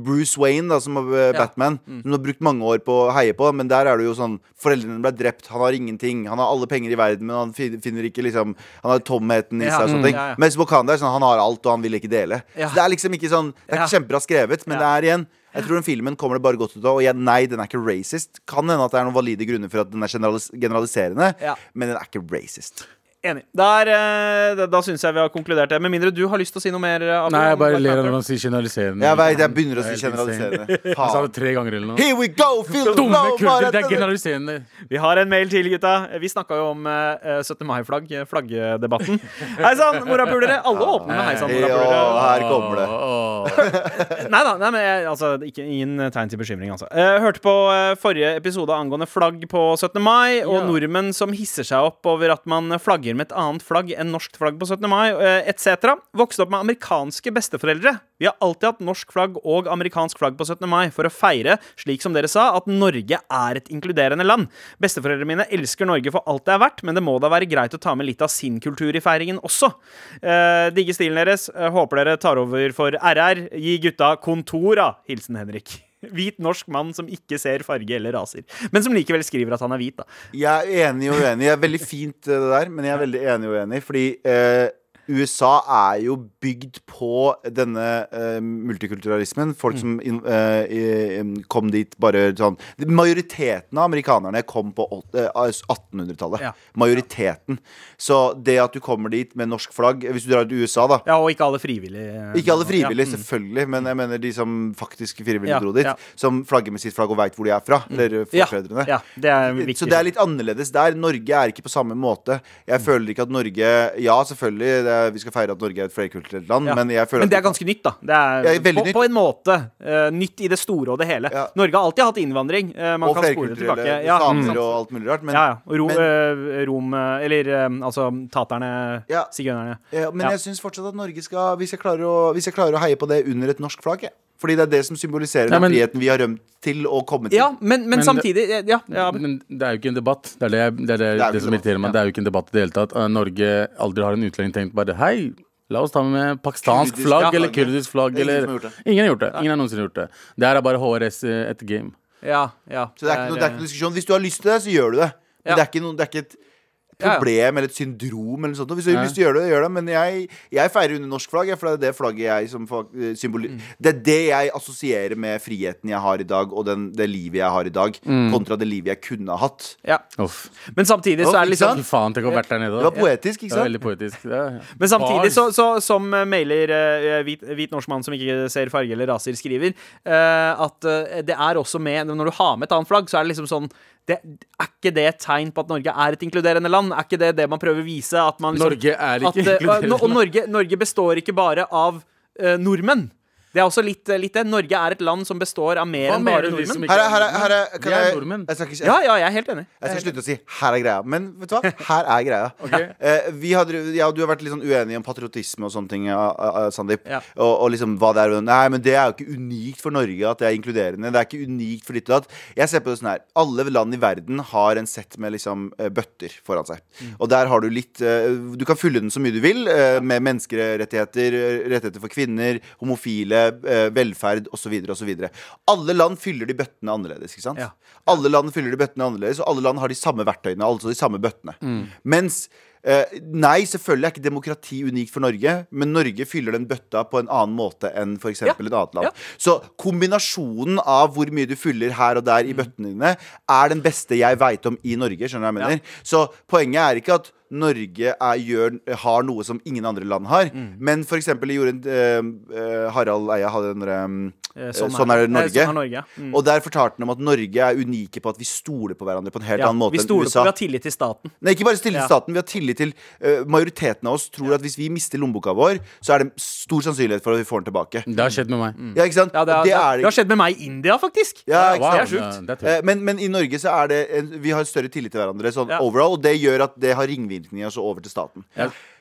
Bruce Wayne, da, som er eh, Ja. Mm. Batman. Som du har brukt mange år på å heie på. Men der er det jo sånn Foreldrene ble drept. Han har ingenting. Han har alle penger i verden, men han fin- finner ikke liksom Han har tomheten i Ja, seg og mm, sånne ting. ja, ja. Mens Wakanda er sånn, han har alt, og han vil ikke dele. Ja. Så det er liksom ikke sånn Det er ikke Ja. kjempebra skrevet, men det Ja. er igjen jeg tror den filmen kommer det bare godt ut av. Og jeg, nei, den er ikke racist. Kan hende at det er noen valide grunner for at den er generalis generaliserende, Ja. men den er ikke racist. Enig. Der, eh, da da syns jeg vi har konkludert det. Med mindre du har lyst til å si noe mer. eh, Abu, Nei, jeg om bare Black ler Panther. når han sier generaliserende. Eh, Jeg vet, jeg begynner Det er å si helt insane. generaliserende. Altså, Han sa Faen. det tre ganger eller noe. Here we go, feel the Dumme flow, kurder, det er bare- generaliserende. Vi har en mail til, gutta. Vi snakka jo om eh, 17. mai-flagg, eh, flaggdebatten. Hei sann, morapulere! Alle åpner med hei sann, Ja, morapulere. her kommer det. Åh. Nei da, nei, men jeg, altså, ikke, ingen tegn til bekymring, altså. Eh, hørte på eh, forrige episode angående flagg på 17. mai, og Ja. nordmenn som hisser seg opp over at man flagger med et annet flagg enn norsk flagg på 17. mai, eh, etc. Vokste opp med amerikanske besteforeldre. Vi har alltid hatt norsk flagg og amerikansk flagg på 17. mai for å feire, slik som dere sa, at Norge er et inkluderende land. Besteforeldrene mine elsker Norge for alt det er verdt, men det må da være greit å ta med litt av sin kultur i feiringen også. Eh, digger stilen deres. Eh, håper dere tar over for RR. Gi gutta kontor, da. Hilsen Henrik. Hvit norsk mann som ikke ser farge eller raser, men som likevel skriver at han er hvit. da Jeg er enig og uenig. Det er veldig fint eh, det der, men jeg er veldig enig og uenig. Fordi eh, USA er jo bygd på denne eh, multikulturalismen. Mm. Folk som inn- eh, i- em, kom dit bare sånn Majoriteten av amerikanerne kom på åt- eh, 1800-tallet. Ja. Majoriteten. Så det at du kommer dit med norsk flagg Hvis du drar til USA, da. Ja, Og ikke alle frivillige. Ikke alle Ja, frivillige, mm. selvfølgelig, men jeg mener de som faktisk frivillig Ja, dro dit. ja. Mm. Som flagger med sitt flagg og veit hvor de er fra. Eller forfedrene. Ja, ja, det er viktig. Så det er litt sånn, annerledes der. Norge er ikke på samme måte. Jeg føler ikke at Norge Ja, selvfølgelig, det er, vi skal feire at Norge er et flerkulturelt land, Ja. men jeg føler det er at ganske nytt, da. Det er, Ja, veldig på, nytt. på en måte eh, nytt i det store og det hele. Ja. Norge har alltid hatt innvandring. eh, man Og kan spore det flerkulturelle tilbake. Ja, samer mm. og alt mulig rart. Men, ja, ja. Og Ro, men- eh, Rom eh, Eller eh, altså taterne, Ja. sigøynerne. ja, men Ja. jeg syns fortsatt at Norge skal Hvis jeg klarer å, hvis jeg klarer å heie på det under et norsk flagg, jeg. fordi det er det som symboliserer Nei, men- den friheten vi har rømt til å komme til. Ja, men, men, Men- samtidig eh, Ja. ja. Men det er jo ikke en debatt. Det er det, jeg- det, er det, jo det, ikke som debatt, irriterer meg. Det er jo ikke en debatt i det hele tatt. Eh, Norge aldri har en utlending tenkt bare hei, la oss ta med pakistansk Kurdisk flagg flagg, eller ja. kurdisk flagg Det er ingen eller som har gjort det. Ingen har gjort det. Ingen har noensinne gjort det. Det her er bare HRS eh, et game. ja, ja Så det er, ikke noe, det er ikke noe diskusjon. Hvis du har lyst til det, så gjør du det. Men eh, Ja. det, er ikke noe, det er ikke et Ja, ja. problem eller et syndrom eller noe sånt. Og Hvis du har Nei. lyst til å gjøre det, gjør det. Men jeg, jeg feirer under norsk flagg, jeg, for det er det flagget jeg som fak- eh, symboli... Det er det jeg assosierer med friheten jeg har i dag, og den, det livet jeg har i dag, kontra det livet jeg kunne ha hatt. Ja. Uff. Men samtidig så er Å, det ikke liksom Fy sant? faen, tenk å ha vært der nede. Det da. var poetisk, Det ikke var sant? veldig poetisk. Det er- men samtidig Bars. så, så som eh, mailer eh, hvit, hvit norsk mann som ikke ser farge eller raser, skriver, eh, at eh, det er også med Når du har med et annet flagg, så er det liksom sånn det, Er ikke det et tegn på at Norge er et inkluderende land? Er ikke det det man prøver å vise? At man liksom, Norge er ikke at, eh, inkluderende. Og Norge, Norge består ikke bare av eh, nordmenn. Det er også litt, eh, litt det. Norge er et land som består av mer Hva enn mener bare du, de som nordmenn. ikke Her er, her er, her er, Vi kan er jeg, nordmenn. jeg skal ikke, Ja, ja, jeg er helt enig. Jeg skal slutte å si 'her er greia', men vet du hva? Her er greia. Ok. Eh, vi har, drevet- ja, du har vært litt sånn uenig om patriotisme og sånne ting, ja, ja, ja, Sandeep. Ja. Og, og liksom hva det er. Nei, men det er jo ikke unikt for Norge at det er inkluderende. Det er ikke unikt for ditt og datt. Jeg ser på det sånn her. Alle land i verden har en sett med liksom eh, bøtter foran seg. Mm. Og der har du litt eh, Du kan fylle den så mye du vil eh, med menneskerettigheter, eh, rettigheter for kvinner, homofile, eh, velferd osv. osv. Alle land fyller de bøttene annerledes, ikke sant? Ja. Alle land fyller de bøttene annerledes, og alle land har de samme verktøyene. Altså de samme bøttene Mens eh, Nei, selvfølgelig er ikke demokrati unikt for Norge, men Norge fyller den bøtta på en annen måte enn f.eks. Ja. et annet land. Ja. Så kombinasjonen av hvor mye du fyller her og der i Mm. bøttene dine, er den beste jeg veit om i Norge. Skjønner du hva jeg mener? Så poenget er ikke at Norge er, gjør, har noe som ingen andre land har. Mm. Men for eksempel gjorde eh, eh, Harald Eia hadde den derre Eh, sånn, sånn er eh, det Norge. Sånn er Norge. Mm. Og der fortalte han om at Norge er unike på at vi stoler på hverandre på en helt Ja, annen måte vi enn stoler på USA. vi har tillit til staten. Nei, ikke bare tillit Ja. til staten, vi har tillit til eh, Majoriteten av oss tror at hvis vi mister lommeboka vår, så er det stor sannsynlighet for at vi får den tilbake. Det har skjedd med meg. Ja, ikke sant? Mm. Ja, det, Og har- det, har- er det har skjedd med meg i India, faktisk. Ja, ikke Wow, det er det er- sjukt. det er tøft. Eh, Men, men i Norge så er det en, vi har større tillit til hverandre sånn Ja. overall, og det gjør at det har ringvirkninger også over til staten.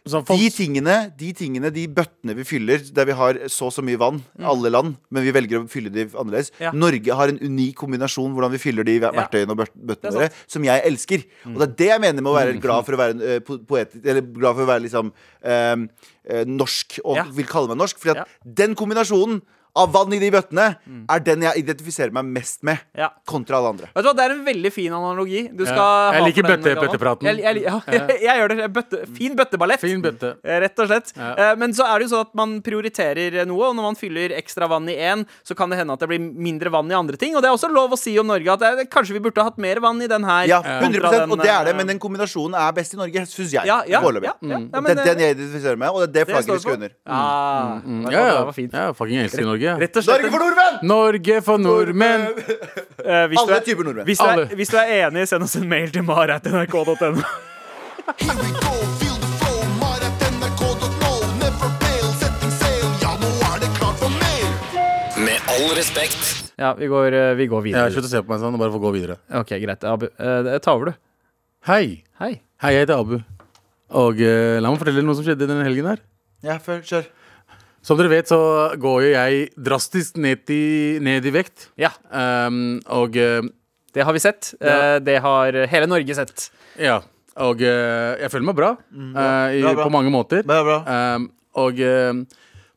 Sånn folk- De tingene, de tingene, de bøttene vi fyller, der vi har så og så mye vann, alle land, men vi velger å fylle de annerledes. Mm. Ja. Norge har en unik kombinasjon hvordan vi fyller de ver- Ja. verktøyene og bøt- Det bøttene er våre, sant. Mm. som jeg elsker. Og det er det jeg mener med å være glad for å være eh, po- poet, eller glad for å være liksom eh, eh, norsk, og Ja. vil kalle meg norsk. Fordi at Ja. Mm. den kombinasjonen av vann i de bøttene, er den jeg identifiserer meg mest med. Ja. Kontra alle andre. Vet du hva, Det er en veldig fin analogi. Du skal Ja. Jeg ha liker for den, bøtte- Galvan. bøttepraten. Jeg, jeg, ja, jeg, gjør det. Bøtte, fin bøtteballett. Fin bøtte. Eh, Rett og slett. Ja. Eh, Men så er det jo sånn at man prioriterer noe, og når man fyller ekstra vann i én, så kan det hende at det blir mindre vann i andre ting. Og det er også lov å si om Norge at det, er- kanskje vi burde hatt mer vann i den her. Ja, kontra 100 og den, det er det, eh, men den kombinasjonen er best i Norge, syns jeg. ja, ja, foreløpig. ja, ja, ja, Det men, er den jeg identifiserer meg med, og det er det det står flagget vi skal på. under. Ah, det var- Mm, Ja, Det ja. var fint. ja fucking elsker Norge. jeg. Rett og slett Norge for nordmenn! Norge for nordmenn! eh, hvis du Alle er- typer nordmenn. Hvis du, Alle. er, hvis du er enig, send oss en mail til mar.nrk.no. Here we go, feel the flow. Mar at nrk.no. Never fail, setting sail. Ja, nå er det klart for mer. Med all respekt. Ja, vi går, eh, vi går Ja, videre. Slutt å se på meg sånn og bare få gå videre. Ok, greit. Abu, eh, ta over, du. Hei. Hei. Hei, jeg heter Abu. Og eh, la meg fortelle dere noe som skjedde denne helgen her. Ja, før, kjør. Som dere vet, så går jo jeg drastisk ned i, ned i vekt. Ja, Um, og eh, det har vi sett. Eh, det har hele Norge sett. ja. Og eh, jeg føler meg bra, eh, i, Mm, bra, bra. på mange måter. Bra, bra. Um, og um,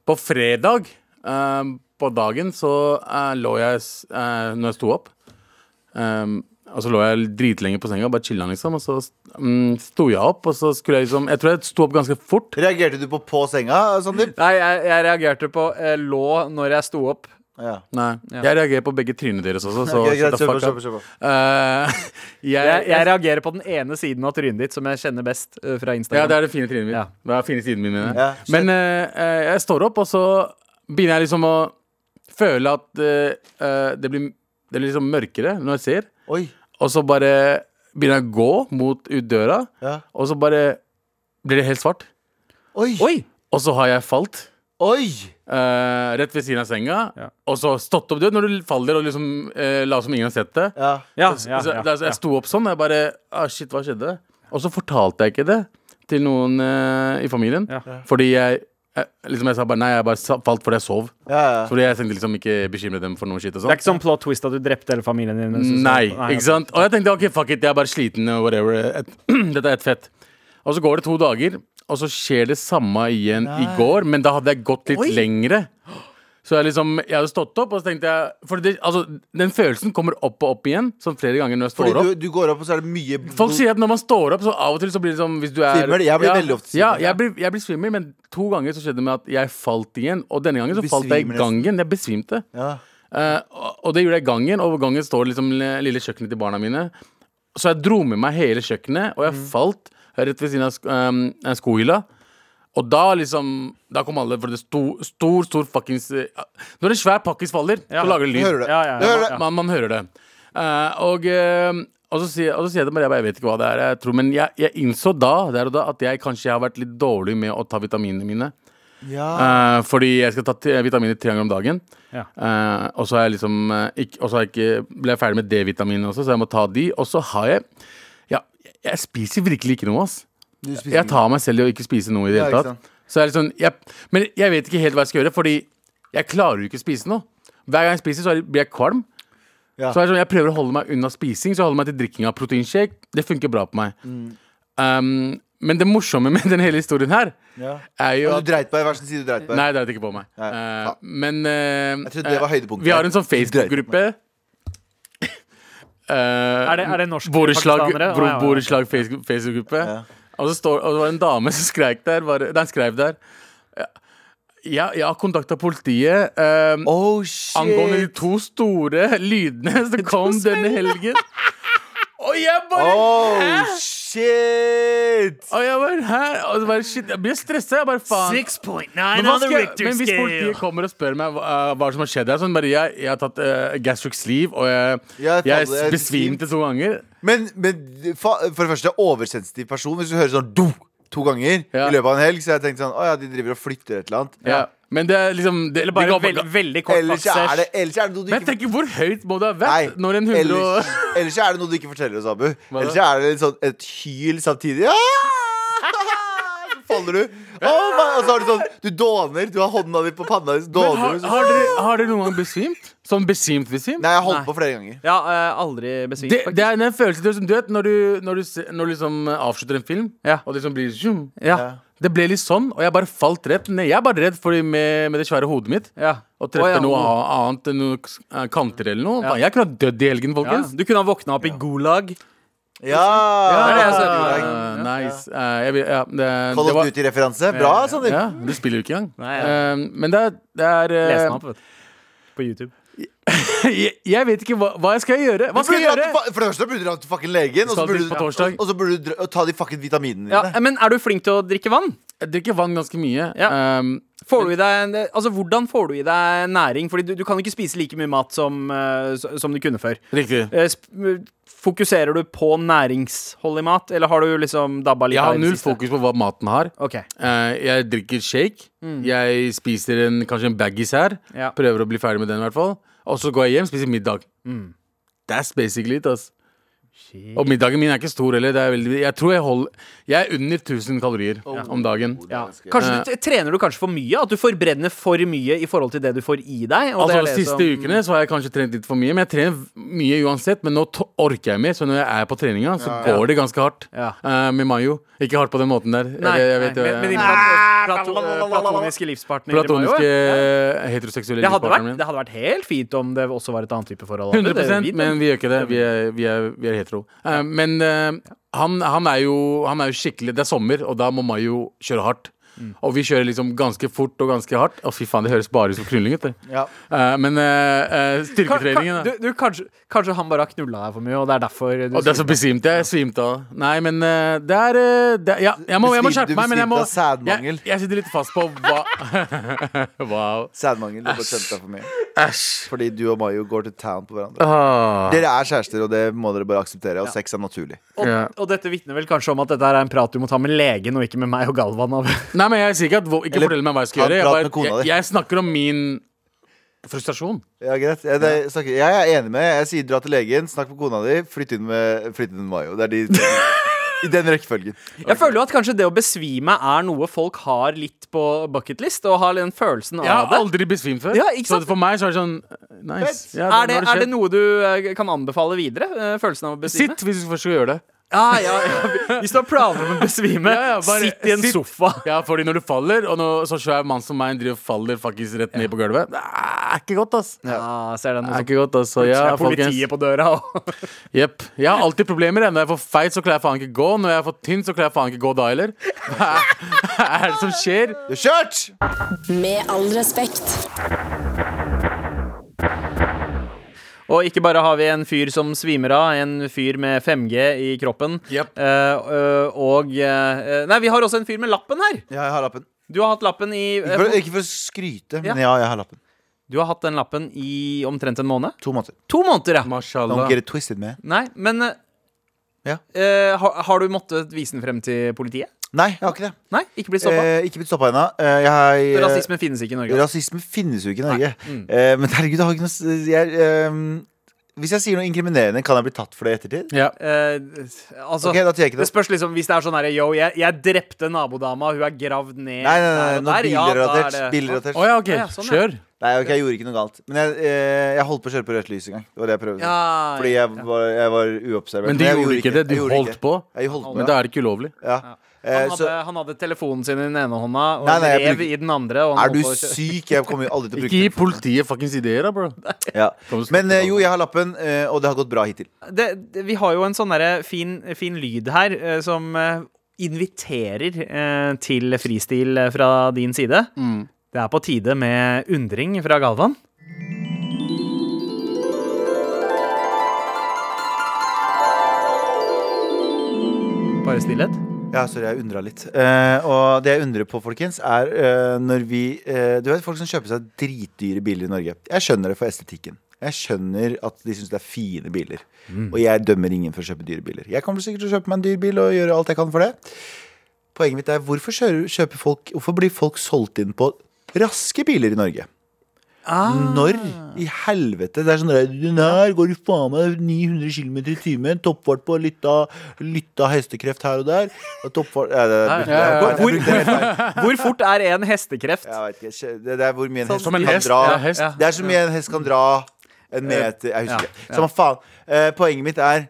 på fredag um, på dagen så uh, lå jeg s- uh, Når jeg sto opp um, Og så lå jeg dritlenge på senga, bare chilla, liksom. Og så um, sto jeg opp, og så skulle jeg liksom Jeg tror jeg sto opp ganske fort. Reagerte du på på senga, Sandeep? Nei, jeg, jeg reagerte på eh, lå når jeg sto opp. Ja. Nei, Jeg reagerer på begge trynene deres også, så Ok, greit, shut the kjør på, fuck up. kjør på, kjør på. Uh, Jeg, jeg, jeg reagerer på den ene siden av trynet ditt, som jeg kjenner best eh, fra Ja, Instagram. det er det fine trynet mitt. Ja. Det er fine siden min, mener jeg. Ja, shit. Men eh, eh, jeg står opp, og så begynner jeg liksom å føle at eh, eh, det, blir, det blir liksom mørkere når jeg ser. Oi. Og så bare begynner jeg å gå mot ut døra, Ja. og så bare blir det helt svart. Oi. Oi. Oi! Og så har jeg falt. eh, rett ved siden av senga. Ja. Og så stått opp. Du vet når du faller og liksom uh, later som ingen har sett altså, det. Ja. Ja, Så- ja, så- ja, da- så Jeg sto opp sånn, og jeg bare ah, Shit, hva skjedde? Og så fortalte jeg ikke det til noen eh, i familien. Ja. Fordi jeg, jeg liksom jeg sa bare nei, jeg bare sa- falt fordi jeg sov. Ja, ja. Fordi jeg tenkte liksom ikke bekymre dem for noe shit og Det er sånn. ikke sånn plot twist at du drepte hele familien din. mens du sto Nei, opp. ikke sant? Og jeg tenkte ok, fuck it, jeg er bare sliten og whatever. Et, dette er et fett. Og så går det to dager, og så skjer det samme igjen i går, men da hadde jeg gått litt lengre. Så jeg liksom, jeg hadde stått opp, og så tenkte jeg For det, altså, den følelsen kommer opp og opp igjen, sånn flere ganger når jeg står opp. Fordi du, du går opp, og så er det mye Folk sier at når man står opp, så av og til så blir det sånn hvis du er, Svimmel. Jeg blir ja, veldig ofte Ja, svimmel. jeg blir, jeg blir svimmel, men to ganger så skjedde det med at jeg falt igjen. Og denne gangen så falt jeg i Besvimer nesten. gangen. Jeg besvimte. Ja. Eh, og, og det gjorde jeg i gangen, og over gangen står liksom le- lille kjøkkenet til barna mine. Så jeg dro med meg hele kjøkkenet, og jeg Mm. falt rett ved siden av sk ehm, eh, skohylla. Og da liksom Da kom alle, for det sto stor, stor fuckings eh, Når en svær pakkis faller, Ja. så lager det lyd. Hører du det? Ja, ja, ja. Du hører det? Man, man hører det. Eh, og, eh, og, så sier, og så sier jeg til Maria bare, jeg vet ikke hva det er, jeg tror, men jeg, jeg innså da, der og da at jeg kanskje har vært litt dårlig med å ta vitaminene mine. Ja. Eh, fordi jeg skal ta t- vitaminer tre ganger om dagen. Ja. Eh, og så er jeg liksom eh, ikk- Og så er jeg ikke, ble jeg ferdig med D-vitaminene også, så jeg må ta de. Og så har jeg Ja, jeg spiser virkelig ikke noe, ass. Du spiser Jeg tar meg selv i å ikke spise noe i det Ja, hele ikke tatt. sant. Så jeg er litt sånn, jeg, men jeg vet ikke helt hva jeg skal gjøre, fordi jeg klarer jo ikke å spise noe. Hver gang jeg spiser, så er- blir jeg kvalm. Ja. Så er det sånn, jeg prøver å holde meg unna spising, så jeg holder meg til drikking av proteinshake. Det funker bra på meg. Mm. Um, men det morsomme med den hele historien her Ja. er jo Og at du dreit på deg. Hver sin side du dreit på deg. Nei, det er det ikke på meg. Nei. Eh, Ja. men eh, Jeg trodde det var eh, høydepunktet. Vi har en sånn Drøyt. Facebook-gruppe. Er det- er det norske Borettslag pakistanere? bro- Nei, ja, ja. borettslag Facebook- Facebook-gruppe. Og, så står- og det var en dame som skreik der. Bare, nei, skrev der. Ja, jeg har kontakta politiet eh, Oh, shit. angående de to store lydene som kom denne helgen. Og jeg bare Oh, shit. Og jeg bare, hæ? Og så bare, shit, jeg blir stressa. Jeg bare, faen. Men, hva skal, jeg- men hvis politiet kommer og spør meg hva, hva som har skjedd her Sånn bare, jeg, jeg har tatt eh, gastric sleeve, og jeg, Jeg eh, jeg, faller- jeg besvimte to ganger. Men, men fa- for det første, oversensitiv person. Hvis du hører sånn do to ganger Ja. i løpet av en helg, så har jeg tenkt sånn Å ja, de driver og flytter et eller annet. Ja. Men det er liksom det, Eller bare det går- veld, veldig kort Ellers er det, ellers er det noe du Men ikke tenk hvor høyt må det ha Nei, vært når en hundre og ellers, ellers er det noe du ikke forteller oss, Abu. da? Ellers er det litt sånn et hyl samtidig. Ja! Så faller du. Oh, my. Og så har du sånn Du dåner. Du har hånda di på panna di, så Men dåner har, du. har, Så. dere, har dere noen gang besvimt? Sånn besvimt besvimt? Nei, jeg har holdt på flere ganger. Ja, eh, aldri besvimt. Det, faktisk. det er den følelsen du, som du vet når du, når du, se- når du liksom eh, avslutter en film, Ja. og det liksom blir zoom. ja. Det ble litt sånn, og jeg bare falt rett ned. Jeg er bare redd fordi med, med det svære hodet mitt. Ja. Og treffer Å, ja, noe hodet. a- annet enn noen k- eh, kanter eller noe. Faen, Jeg kunne ha dødd i helgen, Ja, folkens. du kunne ha våkna opp i Gulag. Ja! det er det jeg ser for Ah, meg. nice. Eh, jeg vil- ja, det, Call det of var, Duty-referanse. Bra, Sander. ja, du spiller jo ikke engang. Nei, ja. Eh, men det er, det er eh, Les den opp, vet du. På YouTube. jeg, jeg vet ikke hva, hva jeg skal gjøre. Hva Du skal burde jeg dra til gjøre? fa- For det første burde du dra til fucking legen, og så Skal burde dit du, på torsdag. og så burde du dra- ta de fucking vitaminene Ja, dine. men er du flink til å drikke vann? Jeg drikker vann ganske mye. Ja. Eh, Får du i deg, en- altså, hvordan får du i deg næring? Fordi du, du kan ikke spise like mye mat som, eh, s- som du kunne før. riktig. Eh, sp- Fokuserer du på næringsholdig mat, eller har du liksom dabba litt Jeg av har i det null siste? fokus på hva maten har. Ok. Eh, jeg drikker shake. Jeg spiser en, kanskje en baggies her. Mm. Ja. Prøver å bli ferdig med den, i hvert fall. Og så går jeg hjem, spiser middag. Mm. That's basically it, ass. Og middagen min er ikke stor heller. Det er veldig, jeg tror jeg holder Jeg er under 1000 kalorier om dagen. Oh. Ja. Eh. Kanskje du, trener du kanskje for mye? At du forbrenner for mye i forhold til det du får i deg? og det Altså er De det siste som- ukene så har jeg kanskje trent litt for mye, men jeg trener mye uansett. Men nå to- orker jeg mer, så når jeg er på treninga, så går det ganske hardt. Ja. Eh, med Mayo. Ikke hardt på den måten der. Nei, jeg, jeg vet, nei, jo, men, men jeg- din plat- plato- eh, platoniske livspartner Platoniske eh, heteroseksuelle det hadde, vært, livspartneren det hadde vært helt fint om det også var et annet type forhold. min. 100 Det- men vi gjør ikke det. Vi er, vi er, vi er hetero. Eh, men eh, han, han, er jo, han er jo skikkelig Det er sommer, og da må Mayo kjøre hardt. Mm. Og vi kjører liksom ganske fort og ganske hardt. Å, fy faen, det høres bare ut som knulling. vet du. Ja. Eh, men eh, eh, Ka- ka- styrketreningen da. du, du, kanskje, kanskje han bare har knulla deg for mye, og det er derfor du Og det er så besvimt jeg. Svimte av. Nei, men eh, det er, eh, det er ja, jeg, må, jeg må Besvim- du skjerpe meg, men jeg må besvimte av sædmangel. jeg, jeg sitter litt fast på hva Wow. Sædmangel. Du bestemte deg for mye. Æsj. Fordi du og Mayo går til town på hverandre. Ah. Dere er kjærester, og det må dere bare akseptere. Og sex er naturlig. Og, Ja. og dette vitner vel kanskje om at dette her er en prat du må ta med legen, og ikke med meg og Galvan. av- Nei, men jeg sier ikke at hvor- Ikke Eller, fortell meg hva jeg skal ta en gjøre. Jeg, prat bare, med kona jeg, di. jeg snakker om min frustrasjon. Ja, greit. Jeg, det, snakker- jeg er enig med Jeg sier dra til legen, snakk med kona di, flytt inn med, flytt inn med Mayo. Det er de, I den rekkefølgen. Jeg føler jo at kanskje det å besvime er noe folk har litt på bucketlist, og har den følelsen Jeg har av det. aldri besvimt før. Ja, ikke sant? Så for meg så er det sånn Nice. Ja, Er nå det, har er det skjedd. noe du eh, kan anbefale videre? eh, Følelsen av å besvime? Sitt hvis du først skal gjøre det. Ja, ja, ja. Hvis du har planer om å besvime, Ja, ja, bare sitt i en sitt. sofa. Ja, fordi når du faller, og når så svær mann som meg driver og faller faktisk rett ned på gulvet, det er ikke godt, ass. Det Ja, Ah, ser den er også. ikke godt, ass. Så Ja, ja, folkens. politiet på døra og Jepp. Jeg har alltid problemer. jeg. Når jeg er for feit, så klarer jeg faen ikke gå. Når jeg er for tynn, så klarer jeg faen ikke gå da heller. Hva er det som skjer? Du er kjørt! Med all respekt. Og ikke bare har vi en fyr som svimer av, en fyr med 5G i kroppen. Yep. Eh, eh, og eh, Nei, vi har også en fyr med lappen her! Ja, jeg har lappen. Eh, Du har hatt lappen i eh, Ikke for, ikke for å skryte, men ja, jeg har lappen. Du har hatt den lappen i omtrent en måned? To måneder. To måneder, ja! Don't Mashallah. get it twisted, man. Nei, men eh, Ja. eh, har, har du måttet vise den frem til politiet? Nei, jeg har ikke det. Nei, ikke blitt stoppa? Eh, ikke blitt stoppa ennå. Eh, jeg har eh, Rasisme finnes ikke i Norge. Rasisme finnes jo ikke i Norge. Mm. Eh, men herregud, det har ikke noe s- jeg, eh, Hvis jeg sier noe inkriminerende, kan jeg bli tatt for det i ettertid? Ja. Eh, altså Ok, da sier jeg ikke Det det. spørs liksom hvis det er sånn her Yo, jeg, jeg drepte nabodama, hun er gravd ned Nei, nei, nei, der og noe der», ja, da er bilrelatert. det- bilrelatert. Å ja, OK. Ja, sånn, ja. Kjør. Nei, ok, jeg gjorde ikke noe galt. Men jeg, eh, jeg holdt på å kjøre på rødt lys en gang. Det var det jeg prøvde. Ja, Fordi jeg var, jeg var uobservert. Men du jeg gjorde ikke det. Du Jeg gjorde holdt ikke. på. Jeg holdt på, Men da er det ikke ulovlig. ja. Eh, han, hadde, så han hadde telefonen sin i den ene hånda og Nei, nei, jeg rev bruker- i den andre. Og han er du holdt på å kjø- syk? Jeg kommer jo aldri til å Ikke bruke gi det. politiet fuckings ideer, da, bro. Ja. Kan du stoppe Men eh, da? jo, jeg har lappen, eh, og det har gått bra hittil. det, det, Vi har jo en sånn derre fin, fin lyd her eh, som eh, inviterer eh, til fristil eh, fra din side. Mm. Det er på tide med undring fra Galvan. Bare stillhet. Ja, sorry, jeg undra litt. Eh, og det jeg undrer på, folkens, er eh, når vi eh, Du vet folk som kjøper seg dritdyre biler i Norge. Jeg skjønner det for estetikken. Jeg skjønner at de syns det er fine biler. Og jeg dømmer ingen for å kjøpe dyre biler. Jeg kommer sikkert til å kjøpe meg en dyr bil og gjøre alt jeg kan for det. Poenget mitt er hvorfor, kjører, kjøper folk, hvorfor blir folk solgt inn på raske biler i Norge? Når i helvete? Det er sånn der, Den her går i faen meg 900 km i timen. Toppfart på litt av, litt av hestekreft her og der. Og toppfart ja, det, jeg ja, ja. brukte- jeg brukte helt feil. Hvor fort er en hestekreft? Jeg vet ikke. kje- Det, det er hvor mye Sånn en hest Som en kan hest, dra. ja, hest. Det er så mye en hest kan dra. En meter Jeg husker ikke. Samme faen. Eh, poenget mitt Eh, er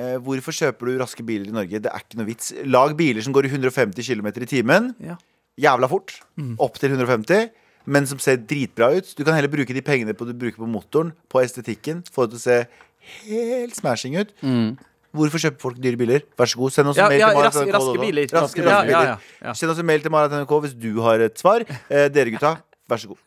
eh, hvorfor kjøper du raske biler i Norge? Det er ikke noe vits. Lag biler som går i 150 km i timen. Ja. Mm. Jævla fort. Opp til 150. Men som ser dritbra ut. Du kan heller bruke de pengene på, du bruker på motoren, på estetikken. Få det til å se helt smashing ut. Hvorfor kjøper folk dyre biler? Vær så god, send oss Mm. Ja, en mail ja, til raske- maraton.nrk.no. raske biler. Raske, Ja, raske ja, biler. ja, ja. Send oss en mail til maraton.nrk hvis du har et svar. Eh, dere gutta, vær så god.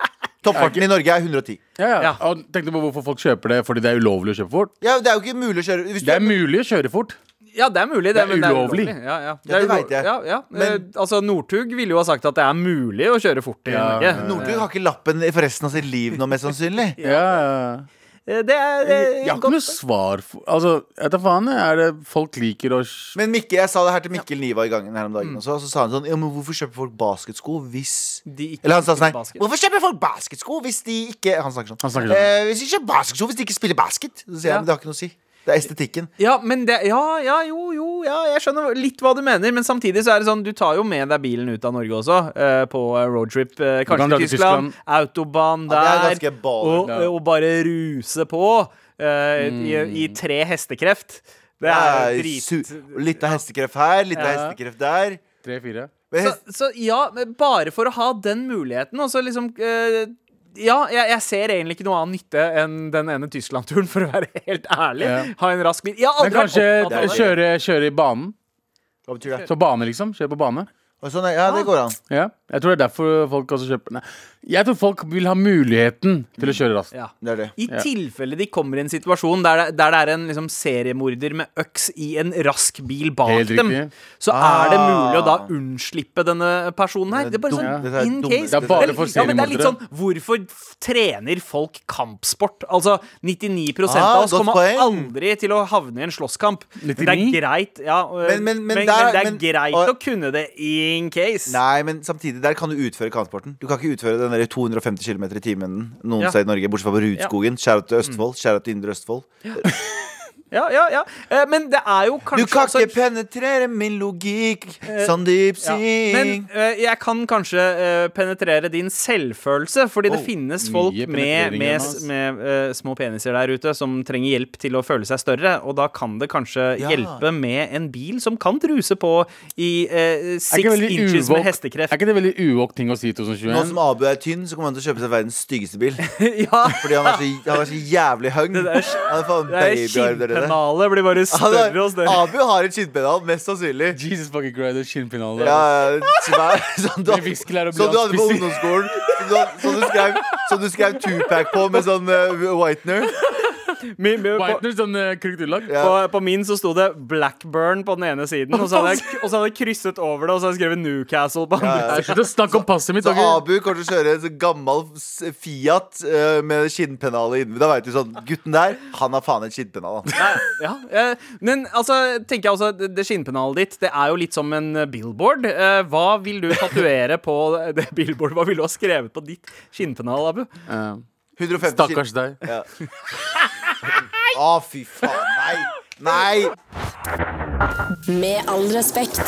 Toppfarten i Norge er 110. Ja, ja. Ja. Og tenkte på hvorfor folk kjøper det fordi det er ulovlig å kjøpe fort. Ja, det er jo ikke mulig å kjøre hvis du Det er mulig å kjøre fort. Ja, det er mulig. Det, Det er men ulovlig. Ja, ja. Ja, det er ulo- vet jeg. Ja, ja. Men- Eh, altså, Northug ville jo ha sagt at det er mulig å kjøre fort i Ja, Norge. Northug har ikke lappen for resten av sitt liv nå, mest sannsynlig. Ja, ja. Eh, Det er eh, Jeg har ikke godt. noe svar for Altså, jeg vet da faen. jeg. Er det folk liker å sj- Men Mikkel, jeg sa det her til Mikkel Niva i gangen her om Mm. dagen også. Og så sa han sånn Ja, men hvorfor kjøper folk basketsko hvis De ikke Eller han sa sånn spiller nei, basket. Hvorfor kjøper folk basketsko hvis de ikke Han snakker sånn. Han snakker sånn. Eh, hvis de kjøper basketsko hvis de ikke spiller basket. Så sier jeg Ja. men det har ikke noe å si. Det er estetikken. Ja, men det, ja, ja, jo, jo, ja, jeg skjønner litt hva du mener. Men samtidig så er det sånn, du tar jo med deg bilen ut av Norge også, eh, på eh, roadtrip. eh, kan kanskje dra til til Tyskland. Autobahn der. Ja, det er ganske baller, og, ja. og bare ruse på eh, i, i tre hestekreft. Det er Det er drit... Mm. su- Litt av hestekreft her, litt av Ja. hestekreft der. Tre-fire? Men Så, hest så ja, men bare for å ha den muligheten, og så liksom eh, ja, jeg, jeg ser egentlig ikke noe annen nytte enn den ene Tyskland-turen, for å være helt ærlig. Ja. Ha en rask bil. Jeg har Men aldri vært kanskje opptatt av det. kjøre, kjøre i banen. Hva betyr det? Så bane, liksom. Kjøre på bane. Og sånn, ja, det går an. Ja. Jeg tror det er derfor folk også kjøper Nei. Jeg tror folk vil ha muligheten til å kjøre raskt. Ja. Det er det. I tilfelle de kommer i en situasjon der det, der det er en liksom, seriemorder med øks i en rask bil bak Helt dem, riktig. så er det Ah. mulig å da unnslippe denne personen her. Det Det er er bare dumt. sånn Dette er in dumt. case. Det er bare for ja, men det er litt sånn seriemordere. Hvorfor f- trener folk kampsport? Altså, 99 Ah, av oss godt kommer poeng. aldri til å havne i en slåsskamp. Men det er 99? greit, ja, øh, Men- men- men men, der- det er men- greit og- å kunne det in case. Nei, men samtidig, der kan du utføre kampsporten. Du kan ikke utføre den der 250 km i timen noen Ja. Mm. steder i Norge, bortsett fra på Rudskogen. Skjær til Østfold, skjær til Indre Østfold. Ja, ja, ja. Eh, Men det er jo Du kanskje kan også- Eh, ikke penetrere min logikk, sånn Sandeep Ja. Men Singh. eh, jeg kan kanskje eh, penetrere din selvfølelse, fordi det Oh, finnes folk mye med, penetrering med, igjen, ass. med eh, små peniser der ute som trenger hjelp til å føle seg større, og da kan det kanskje Ja. hjelpe med en bil som kan truse på i eh, Er ikke, six veldig inches uvåk- med er hestekreft. ikke det veldig uvåk ting å si i Nå som 2021? Abu er tynn, så kommer han til å kjøpe seg verdens styggeste bil. ja, Fordi han er så, han er så jævlig hung. Han der- er faen det er babyarm der nede. skinnpennalet blir bare Han større og er- større. Abu har et skinnpedal, mest sannsynlig. Jesus fucking Christ, det er skinnfinale. Ja, svær, sånn du, Med viskelær og sånn du hadde på blyantspiser. ungdomsskolen. Sånn du, sånn du skrev, sånn du skrev Tupac på med sånn eh, whitener. Mi- mi- på- Whitener sånn uh, krykt ullagt. Ja. På, på min så sto det Blackburn på den ene siden, og så hadde jeg, og så hadde jeg krysset over det, og så hadde jeg skrevet Newcastle på andre. Nei, Slutt å snakke om passet mitt. Så dere. Abu kommer til å kjøre en sånn gammel s- Fiat eh, med skinnpennalet inni. Da vet du sånn Gutten der, han har faen et skinnpennal. han. ja, eh, men altså, tenker jeg også det- Det skinnpennalet ditt Det er jo litt som en eh, billboard. Eh, Hva vil du tatuere på det billboardet? Hva ville du ha skrevet på ditt skinnpennal, Abu? Ja. 150 skinn- Stakkars deg. Ja. Å, fy faen. Nei. Nei. Med all respekt.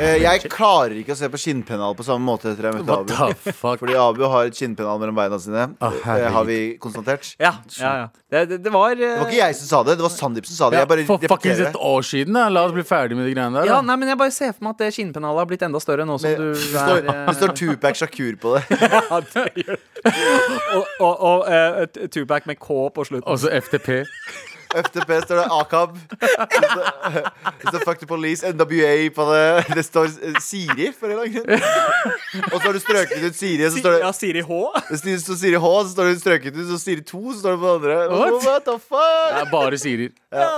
Eh, jeg klarer ikke å se på skinnpennal på samme måte etter jeg møtte What Abu. the fuck? Fordi Abu har et skinnpennal mellom beina sine. herregud. det har vi konstatert. Ja, ja, ja. Det, det, det var eh, Det var ikke jeg som sa det, det var Sandeep som sa det. Jeg bare For fuckings repeterer. et år siden. Da. La oss bli ferdig med de greiene der. Ja, da. nei, men Jeg bare ser for meg at det skinnpennalet har blitt enda større nå som Det du står, er eh, det står Tupac Shakur på det. ja, det gjør det. Og, og, og eh, et Tupac med K på slutten. Og så FTP. FTP står det Akab. Det står- det står Fuck the Police, NWA på det. Det står eh, Siri, for en eller annen grunn. Og så har du strøket ut Siri, og så står det Ja, Siri H. Det står- så Siri H, så står det strøket ut, så Siri 2, så står det på den andre. Oh, what the Det fuck? er bare sirer. Ja,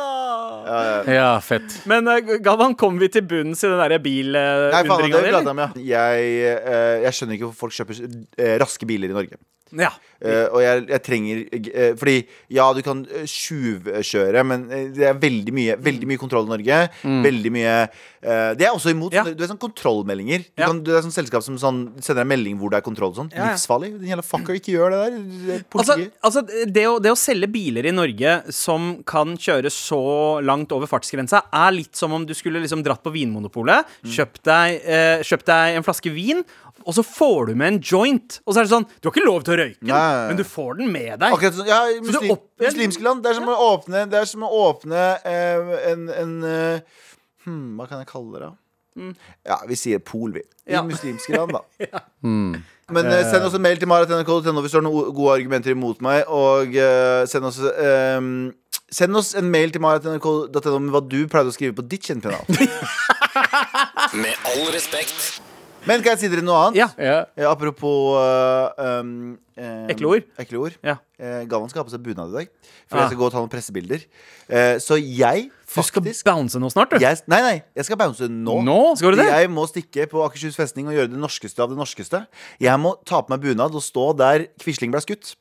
ja. Ja, fett. Men eh, Galvan, kom vi til bunns i den eh, derre Nei, faen, det bilundringa di? prater jeg eller? om, ja. Jeg, eh, jeg skjønner ikke hvorfor folk kjøper eh, raske biler i Norge. Ja. Eh, og jeg, jeg trenger eh, Fordi ja, du kan eh, tjuvkjøre, men eh, det er veldig mye Veldig mye kontroll i Norge. Veldig mye eh, Det er også imot Mm. Ja. sånne, Du er sånn kontrollmeldinger. Du, Ja. kan, du er sånn selskap som sånn, sender en melding hvor det er kontroll og sånn. Ja, ja. Livsfarlig. Din jævla fucker, ikke gjør det der. Det er Altså, Politiet. altså det, å, det å selge biler i Norge som kan kjøre så langt over fartsgrensa, er Mm. litt som om du skulle liksom dratt på Vinmonopolet, kjøpt deg, eh, kjøpt deg en flaske vin, og så får du med en joint. Og så er det sånn Du har ikke lov til å røyke den, Nei. men du får den med deg. Akkurat sånn, ja, i Så du muslim, opp- ja, muslimske land. Det er som å åpne, det er som å åpne eh, en, en eh, hmm, Hva kan jeg kalle det? da? Ja, vi sier pol, vi. I Mm. Ja. muslimske land, da. Men eh, send oss en mail til maratnrk.no hvis du har noen gode argumenter imot meg. Og eh, send oss eh, Send oss en mail til maratnrk.no med hva du pleide å skrive på ditt kjennepennal. Med all respekt. Men kan jeg si dere noe annet? Ja. Ja. Eh, apropos eh, um, eh, Ekle ord. Ekle ord. Ja. Eh, Galvan skal ha på seg bunad i dag, for Ah. jeg skal gå og ta noen pressebilder. Eh, så jeg Du skal faktisk bounce nå snart, du. jeg, Nei, nei, jeg skal bounce nå. Nå? Skal du det? Jeg må stikke på Akershus festning og gjøre det norskeste av det norskeste. Jeg må ta på meg bunad og stå der Quisling ble skutt.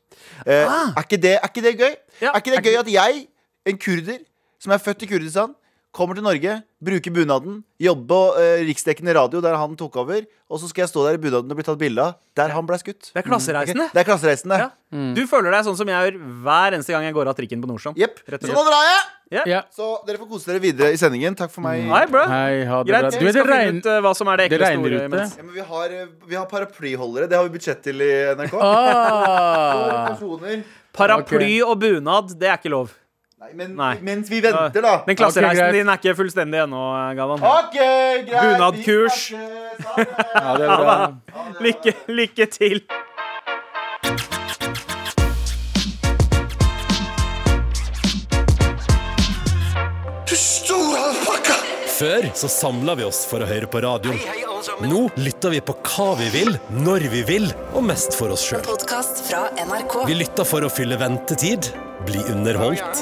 Eh, er, ikke det, er ikke det gøy? Ah. Ja, Er ikke det er ikke- gøy at jeg, en kurder som er født i Kurdistan, kommer til Norge, bruker bunaden, jobber på eh, riksdekkende radio der han tok over, og så skal jeg stå der i bunaden og bli tatt bilde av der han ble skutt? Det er klassereisende. Ok, Det er klassereisende. Ja. Mm. Du føler deg sånn som jeg gjør hver eneste gang jeg går av trikken på Nordstrand. Jepp. Rett og Så slett. nå drar jeg! Ja. Så dere får kose dere videre i sendingen. Takk for meg. Hei, bro. Hei, Mm. ha det bra. Greit. Du vet, vi det, skal finne regn, ut eh, hva som er det det ekle regner store. ute. imens. Ja, men vi har, eh, vi har paraplyholdere. Det har vi budsjett til i NRK. Ah. personer. Paraply og bunad, det er ikke lov. Nei, men Nei. mens vi venter, da. Ah! Den klassereisen greit. din er ikke fullstendig ennå, Galvan. Ah. OK, greit. vi Bunadkurs. snakkes. Ha det. Ha det bra. Lykke, lykke til. Før så samla vi oss for å høre på radioen. Nå lytter vi på hva vi vil, når vi vil, og mest for oss sjøl. Podkast fra NRK. Vi lytter for å fylle ventetid, bli underholdt,